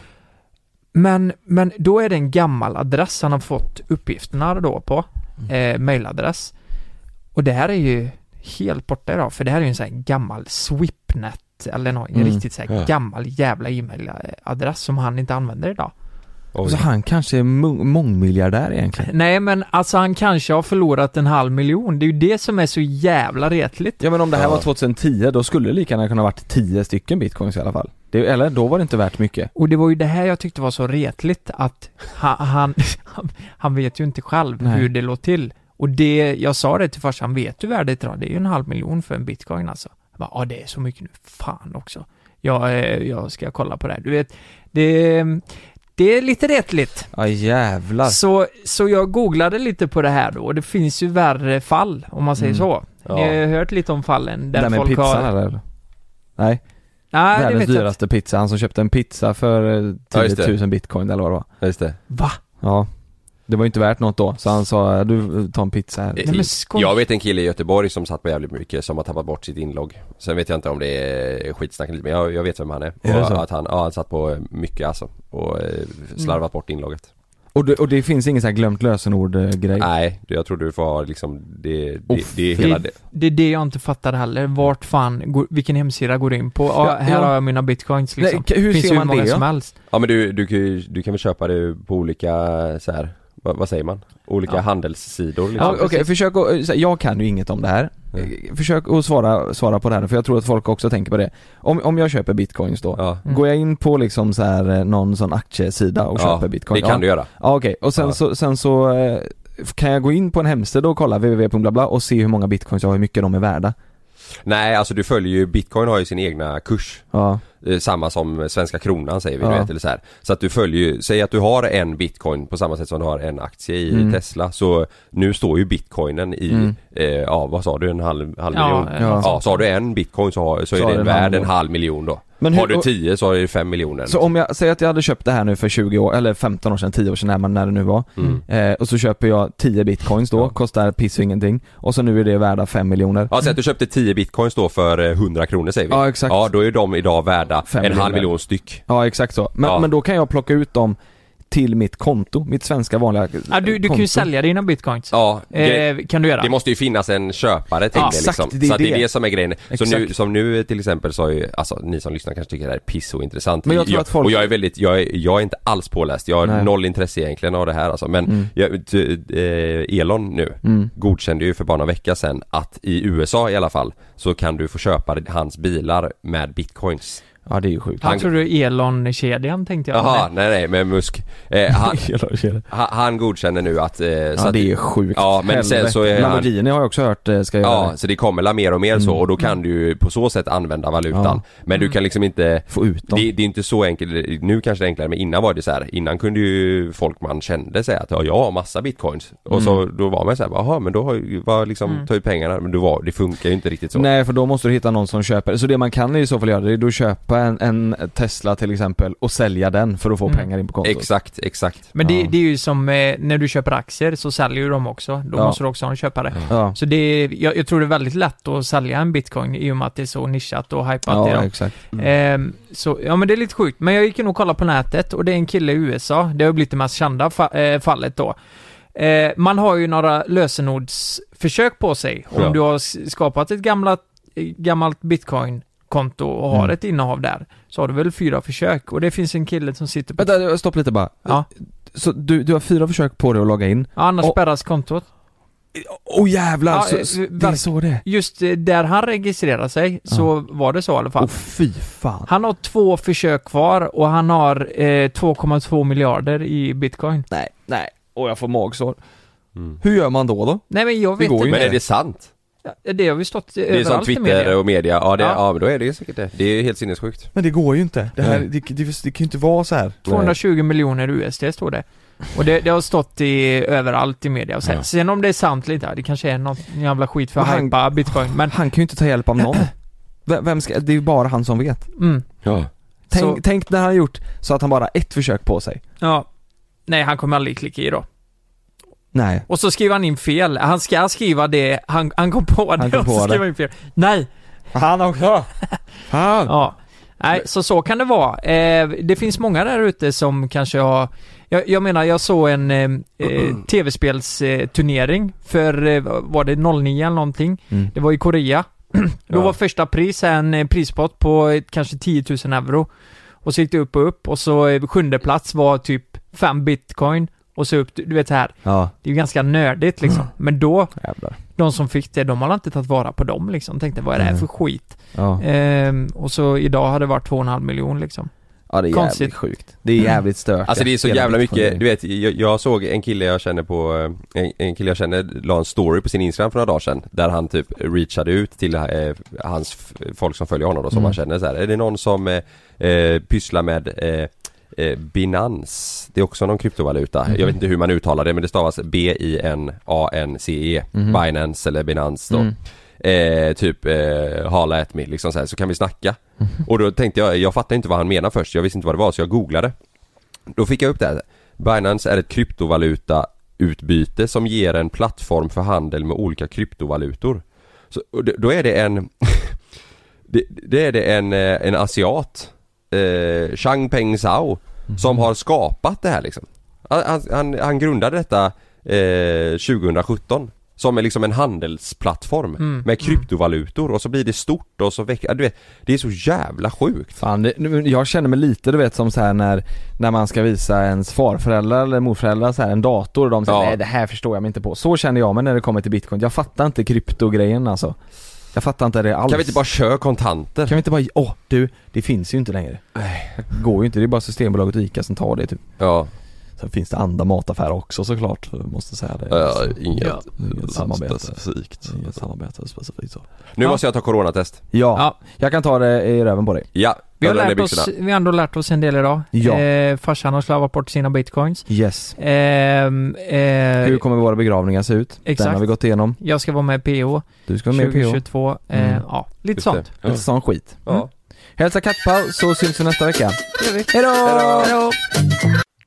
S5: Men, men då är det en gammal adress han har fått uppgifterna då på,
S4: Mm.
S5: eh, mailadress. Och det här är ju helt borta idag, för det här är ju en sån här gammal Swipnet, eller någon, en
S4: Mm.
S5: riktigt så här
S4: Ja.
S5: gammal jävla e-mailadress som han inte använder idag.
S4: Så Alltså, han kanske är mång- mångmiljardär egentligen?
S5: Nej men alltså han kanske har förlorat en halv miljon, det är ju det som är så jävla retligt.
S4: Ja men om det här var 2010, då skulle det lika gärna kunna varit 10 stycken bitcoins i alla fall. Det, eller då var det inte värt mycket.
S5: Och det var ju det här jag tyckte var så retligt att ha, han, han, han vet ju inte själv
S4: Nej.
S5: hur det låg till. Och det, jag sa det till farsan, vet du värdet idag? Det är ju en halv miljon för en bitcoin alltså. Jag bara, ja det är så mycket nu, fan också. Jag, eh, jag ska kolla på det här. Du vet, det, det är lite retligt.
S4: Ja jävlar.
S5: Så, så jag googlade lite på det här då och det finns ju värre fall om man säger
S4: Mm.
S5: så.
S4: Ja.
S5: Ni har ju hört lite om fallen
S4: det
S5: där,
S4: där med
S5: folk
S4: pizzan
S5: har...
S4: eller? Nej.
S5: Nej, det
S4: Världens
S5: vet jag
S4: dyraste pizza, han som köpte en pizza för eh,
S3: Ja, just
S4: 10
S3: det.
S4: 000 bitcoin eller vad det var.
S3: Ja, just det.
S5: Va?
S4: Ja. Det var ju inte värt något då, så han sa du, ta en pizza här.
S3: Eh, jag vet en kille i Göteborg som satt på jävligt mycket som har tappat bort sitt inlogg Sen vet jag inte om det är skitsnack eller inte, men jag, jag vet vem han är,
S4: Är det
S3: och
S4: så? Mm.
S3: att han, ja, han satt på mycket alltså och eh, slarvat bort inlogget
S4: Och det, och det finns ingen så här glömt lösenord eh, grej?
S3: Nej, du, jag tror du får ha liksom det, det,
S4: Off.
S3: det är hela det
S5: Det är det jag inte fattar heller. Vart fan, går, vilken hemsida går du in på? Ja,
S4: Ja,
S5: här
S4: ja.
S5: har jag mina bitcoins
S4: Nej,
S5: liksom.
S4: k- hur
S5: Finns
S4: ser
S5: ju
S4: man
S5: hur många
S4: det,
S5: som
S4: ja?
S5: helst.
S3: Ja men du, du, kan ju- du kan väl köpa det på olika så här, vad, vad säger man? Olika
S4: Ja.
S3: handelssidor liksom.
S4: Ja, Okej, försök att, eh, så här, jag kan ju inget om det här. Eh, Försök att svara, svara på det här för jag tror att folk också tänker på det. Om, om jag köper bitcoins då,
S3: Mm.
S4: går jag in på liksom så här, eh, någon sån aktiesida och
S3: Ja,
S4: köper bitcoin?
S3: det kan du göra.
S4: Ja okej, och sen
S3: Ja.
S4: så, sen så eh, kan jag gå in på en hemsida och kolla www.blabla och se hur många bitcoins jag har, hur mycket de är värda?
S3: Nej alltså du följer ju, bitcoin har ju sin egna kurs
S4: Ja.
S3: Eh, Samma som svenska kronan säger vi,
S4: Ja.
S3: du vet, eller så här. Så att du följer ju, säg att du har en bitcoin på samma sätt som du har en aktie i
S4: Mm.
S3: Tesla Så nu står ju bitcoinen i,
S4: Mm.
S3: eh, ja vad sa du, en halv, halv
S4: Ja,
S3: miljon?
S4: ja.
S3: Ja. så har du en bitcoin så, har, så är det
S4: en halv
S3: värd en
S4: miljon.
S3: halv miljon då
S4: Men hur-
S3: Har du
S4: och-
S3: tio så är det fem miljoner
S4: Så om jag säger att jag hade köpt det här nu för 20 år, eller 15 år sedan, 10 år sedan, när man- när det nu var.
S3: Mm.
S4: Eh, och så köper jag 10 bitcoins då, kostar piss och ingenting. Och så nu är det värda 5 miljoner.
S3: Ja, säg att du köpte 10 bitcoins då för eh, 100 kronor säger vi.
S4: Ja, exakt.
S3: Ja, då är de idag värda en
S4: Fem
S3: halv
S4: miljoner.
S3: miljon styck.
S4: Ja, exakt så. Men,
S3: Ja.
S4: men då kan jag plocka ut dem till mitt konto, mitt svenska vanliga eh,
S5: Ja, du, du kan ju sälja dina bitcoins.
S3: Ja,
S5: Eh,
S3: gre-
S5: kan du göra.
S3: Det måste ju finnas en köpare till
S5: Ja,
S3: det
S5: exakt,
S3: liksom.
S5: det är
S3: så att det är
S5: det.
S3: det som är grejen. Så nu,
S5: Exakt.
S3: som nu till exempel så är ju, alltså ni som lyssnar kanske tycker det här är piss och intressant.
S4: Men jag tror att folk-
S3: Och jag är väldigt, jag är, jag är inte alls påläst. Jag har
S4: Nej.
S3: noll intresse egentligen av det här alltså. Men
S4: Mm.
S3: jag, t- eh, Elon nu
S4: Mm.
S3: godkände ju för bara några vecka sedan att i USA i alla fall så kan du få köpa hans bilar med bitcoins.
S4: Ja, det är ju sjukt.
S5: Han tror du Elon-kedjan tänkte jag.
S3: Jaha, nej nej men Musk. Eh, han, han, han godkänner nu att... Eh,
S4: Ja, det är ju sjukt.
S3: Ja men sen så är han,
S4: Lamborghini har jag också hört eh, ska göra
S3: Ja,
S4: det.
S3: så det kommer la mer och mer så och då kan du ju på så sätt använda valutan.
S4: Ja.
S3: Men du kan liksom inte
S4: Få ut dem.
S3: Det, det är inte så enkelt, nu kanske det är enklare men innan var det så här. innan kunde ju folk man kände säga att ja, jag har massa bitcoins. Och så då var man så här, jaha men då har ju, vad liksom,
S4: Mm.
S3: ta ut pengarna. Men du var, det funkar ju inte riktigt så.
S4: Nej, för då måste du hitta någon som köper. Så det man kan i så fall göra, det är då köpa en, en Tesla till exempel och sälja den för att få
S5: Mm.
S4: pengar in på kontot.
S3: Exakt, exakt.
S5: Men det, det är ju som eh, när du köper aktier så säljer ju de också. Då
S4: Ja.
S5: måste du också ha en köpare.
S4: Ja.
S5: Så det är, jag, jag tror det är väldigt lätt att sälja en bitcoin i och med att det är så nischat och hypat
S4: Ja,
S5: idag.
S4: exakt.
S5: Ehm, så, ja men det är lite sjukt. Men jag gick in och kollade på nätet och det är en kille i USA. Det har ju blivit det mest kända fa- eh, fallet då. Eh, man har ju några lösenordsförsök på sig. Om
S9: Ja.
S5: du har s- skapat ett gamla, eh, gammalt bitcoin-konto och har
S4: Mm.
S5: ett innehav där, så har du väl fyra försök. Och det finns en kille som sitter på...
S4: Vänta, stopp lite bara.
S5: Ja.
S4: Så du, du har fyra försök på dig att logga in?
S5: Ja, annars
S4: Och-
S5: spärras kontot.
S4: Åh jävlar!
S5: Ja,
S4: så,
S5: eh,
S4: så, det är
S5: verk-
S4: så det är.
S5: Just eh, där han registrerade sig så var det så i alla fall.
S4: Åh fy fan.
S5: Han har två försök kvar och han har eh, 2,2 miljarder i bitcoin.
S4: Nej, nej. Och jag får magsår.
S3: Mm.
S4: Hur gör man då då?
S5: Nej men
S4: Det
S5: jag vet
S4: går ju
S5: inte.
S3: Men är det sant?
S5: Ja, det har vi stått
S3: Det är som
S5: överallt i media.
S3: Twitter och media, ja, det,
S5: Ja.
S3: ja. men då är det ju säkert det. Det är ju helt sinnessjukt.
S4: Men det går ju inte. Det, här,
S3: Nej.
S4: det, det, det kan ju inte vara så här.
S5: 220 miljoner USD står det. Och det, det har stått i, överallt i media. Och sen,
S4: Ja.
S5: sen om det är sant eller inte, ja, det kanske är något jävla skit för
S4: Men
S5: att
S4: han-
S5: hypa bitcoin. Men
S4: Han kan ju inte ta hjälp av någon. V- Vem ska, det är ju bara han som vet.
S5: Mm.
S3: Ja.
S4: Tänk,
S5: Så-
S4: tänk när han har gjort så att han bara har ett försök på sig.
S5: ja, nej han kommer aldrig klicka i då.
S4: Nej.
S5: Och så skriver han in fel. Han ska skriva det, han, han kom på det
S4: kom
S5: och
S4: på
S5: så
S4: det.
S5: skriver han in fel. Nej!
S4: Han också! Fan!
S5: Ja. Nej, så så kan det vara. Eh, det finns många där ute som kanske har... Jag, jag menar, jag såg en eh, eh,
S4: Mm.
S5: tv-spelsturnering för, eh, var det 09 eller någonting?
S4: Mm.
S5: Det var i Korea. Då var första pris en eh, prispott på eh, kanske 10 000 euro. Och så gick det upp och upp och så eh, sjunde plats var typ 5 bitcoin. Och så upp, du vet så här.
S4: Ja.
S5: Det är ju ganska nördigt liksom.
S4: Mm.
S5: Men då,
S4: Jävlar.
S5: de som fick det, de har inte tagit vara på dem liksom. Tänkte, vad är det här
S4: Nej.
S5: för skit?
S4: Ja.
S5: Ehm, och så idag har det varit 2,5 miljon liksom.
S4: Ja det är
S5: Konstigt.
S4: jävligt sjukt. Det är jävligt stört.
S3: Alltså det är så
S4: Hela
S3: jävla mycket,
S4: bitcoin-grejen.
S3: du vet jag, jag såg en kille jag känner på, eh, en, en kille jag känner la en story på sin Instagram för några dagar sedan Där han typ reachade ut till eh, hans, f- folk som följer honom då som
S4: Mm.
S3: han känner så här. Är det någon som eh, eh, pysslar med eh, eh, Binance, det är också någon kryptovaluta.
S4: Mhm.
S3: Jag vet inte hur man uttalar det men det stavas B-I-N-A-N-C-E
S4: Mhm.
S3: E. Binance eller Binance då
S4: Mm.
S3: eh, Typ eh, Hala at me liksom så, här, så kan vi snacka
S4: Mhm.
S3: Och då tänkte jag, jag fattade inte vad han menade först, jag visste inte vad det var så jag googlade då fick jag upp det här. Binance är ett kryptovaluta valutautbyte som ger en plattform för handel med olika kryptovalutor. Så, och d- då är det en det, det är det en, eh, en asiat eh, Chang Peng Zhao
S4: Mhm.
S3: Som har skapat det här liksom Han, han- han, han grundade detta eh, 2017 Som är liksom en handelsplattform
S4: Mm,
S3: med kryptovalutor och så blir det stort och så väcker, ja, du vet Det är så jävla sjukt
S4: Fan, det, nu- jag känner mig lite du vet som så här när, när man ska visa ens farföräldrar eller morföräldrar så här, en dator och de säger
S3: Ja.
S4: nej det här förstår jag mig inte på. Så känner jag mig när det kommer till bitcoin. Jag fattar inte kryptogrejen alltså. Jag fattar inte det alls.
S3: Kan vi inte bara köra kontanter?
S4: Kan vi inte bara, åh du, det finns ju inte längre. Det går ju inte, det är bara Systembolaget och ICA som tar det typ.
S3: Ja.
S4: Sen finns det andra mataffärer också såklart, jag måste säga det. Alltså,
S3: Ja, inget
S4: samarbete.
S3: specifikt.
S4: Inget samarbete specifikt så.
S3: Nu
S4: Ja.
S3: måste jag ta coronatest
S4: Ja, jag kan ta det i röven på dig.
S3: Ja,
S5: Vi har,
S3: jag rullar
S5: lärt oss,
S3: byxorna.
S5: vi har ändå lärt oss en del idag.
S4: Ja.
S5: Eh, farsan har slavat bort sina bitcoins.
S4: Yes.
S5: Ehm, eh,
S4: Hur kommer våra begravningar se ut? Den
S5: Exakt.
S4: har vi gått igenom.
S5: Jag ska vara med i PO.
S4: Du ska vara med i PO.
S5: 2022. Eh, ja, lite
S4: Just
S5: sånt.
S4: det. Lite sån skit. Mm. Hälsa kattpaus så syns vi nästa vecka.
S3: Hejdå!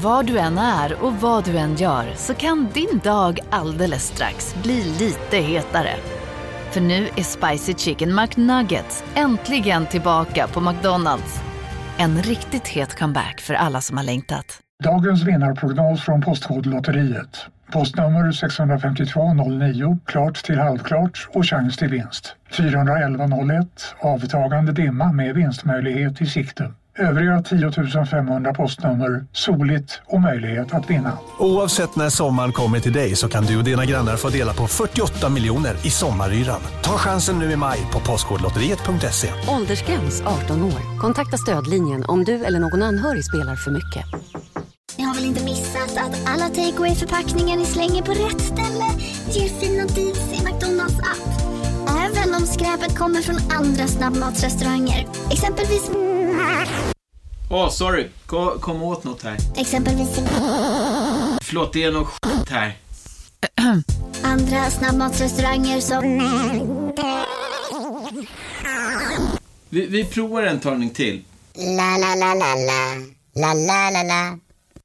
S9: Var du än är och vad du än gör så kan din dag alldeles strax bli lite hetare. För nu är Spicy Chicken McNuggets äntligen tillbaka på McDonalds. En riktigt het comeback för alla som har längtat.
S10: Dagens vinnarprognos från Postkodlotteriet. Postnummer 65209, klart till halvklart och chans till vinst. 41101, avtagande dimma med vinstmöjlighet i sikte. Övriga 10 500 postnummer, soligt och möjlighet att vinna.
S11: Oavsett när sommaren kommer till dig så kan du och dina grannar få dela på 48 miljoner i sommaryran. Ta chansen nu i maj på Postkodlotteriet.se.
S12: Åldersgräns 18 år. Kontakta stödlinjen om du eller någon anhörig spelar för mycket.
S13: Ni har väl inte missat att alla takeaway förpackningar ni slänger på rätt ställe ger fina deals i McDonalds app. Även om skräpet kommer från andra snabbmatsrestauranger. Exempelvis...
S14: Åh, sorry. Kom, kom åt något här.
S13: Exempelvis...
S14: Förlåt, det är något skit här.
S13: Andra snabbmatsrestauranger som...
S14: Vi, vi provar en talning till.
S15: La la la la la. La la la la.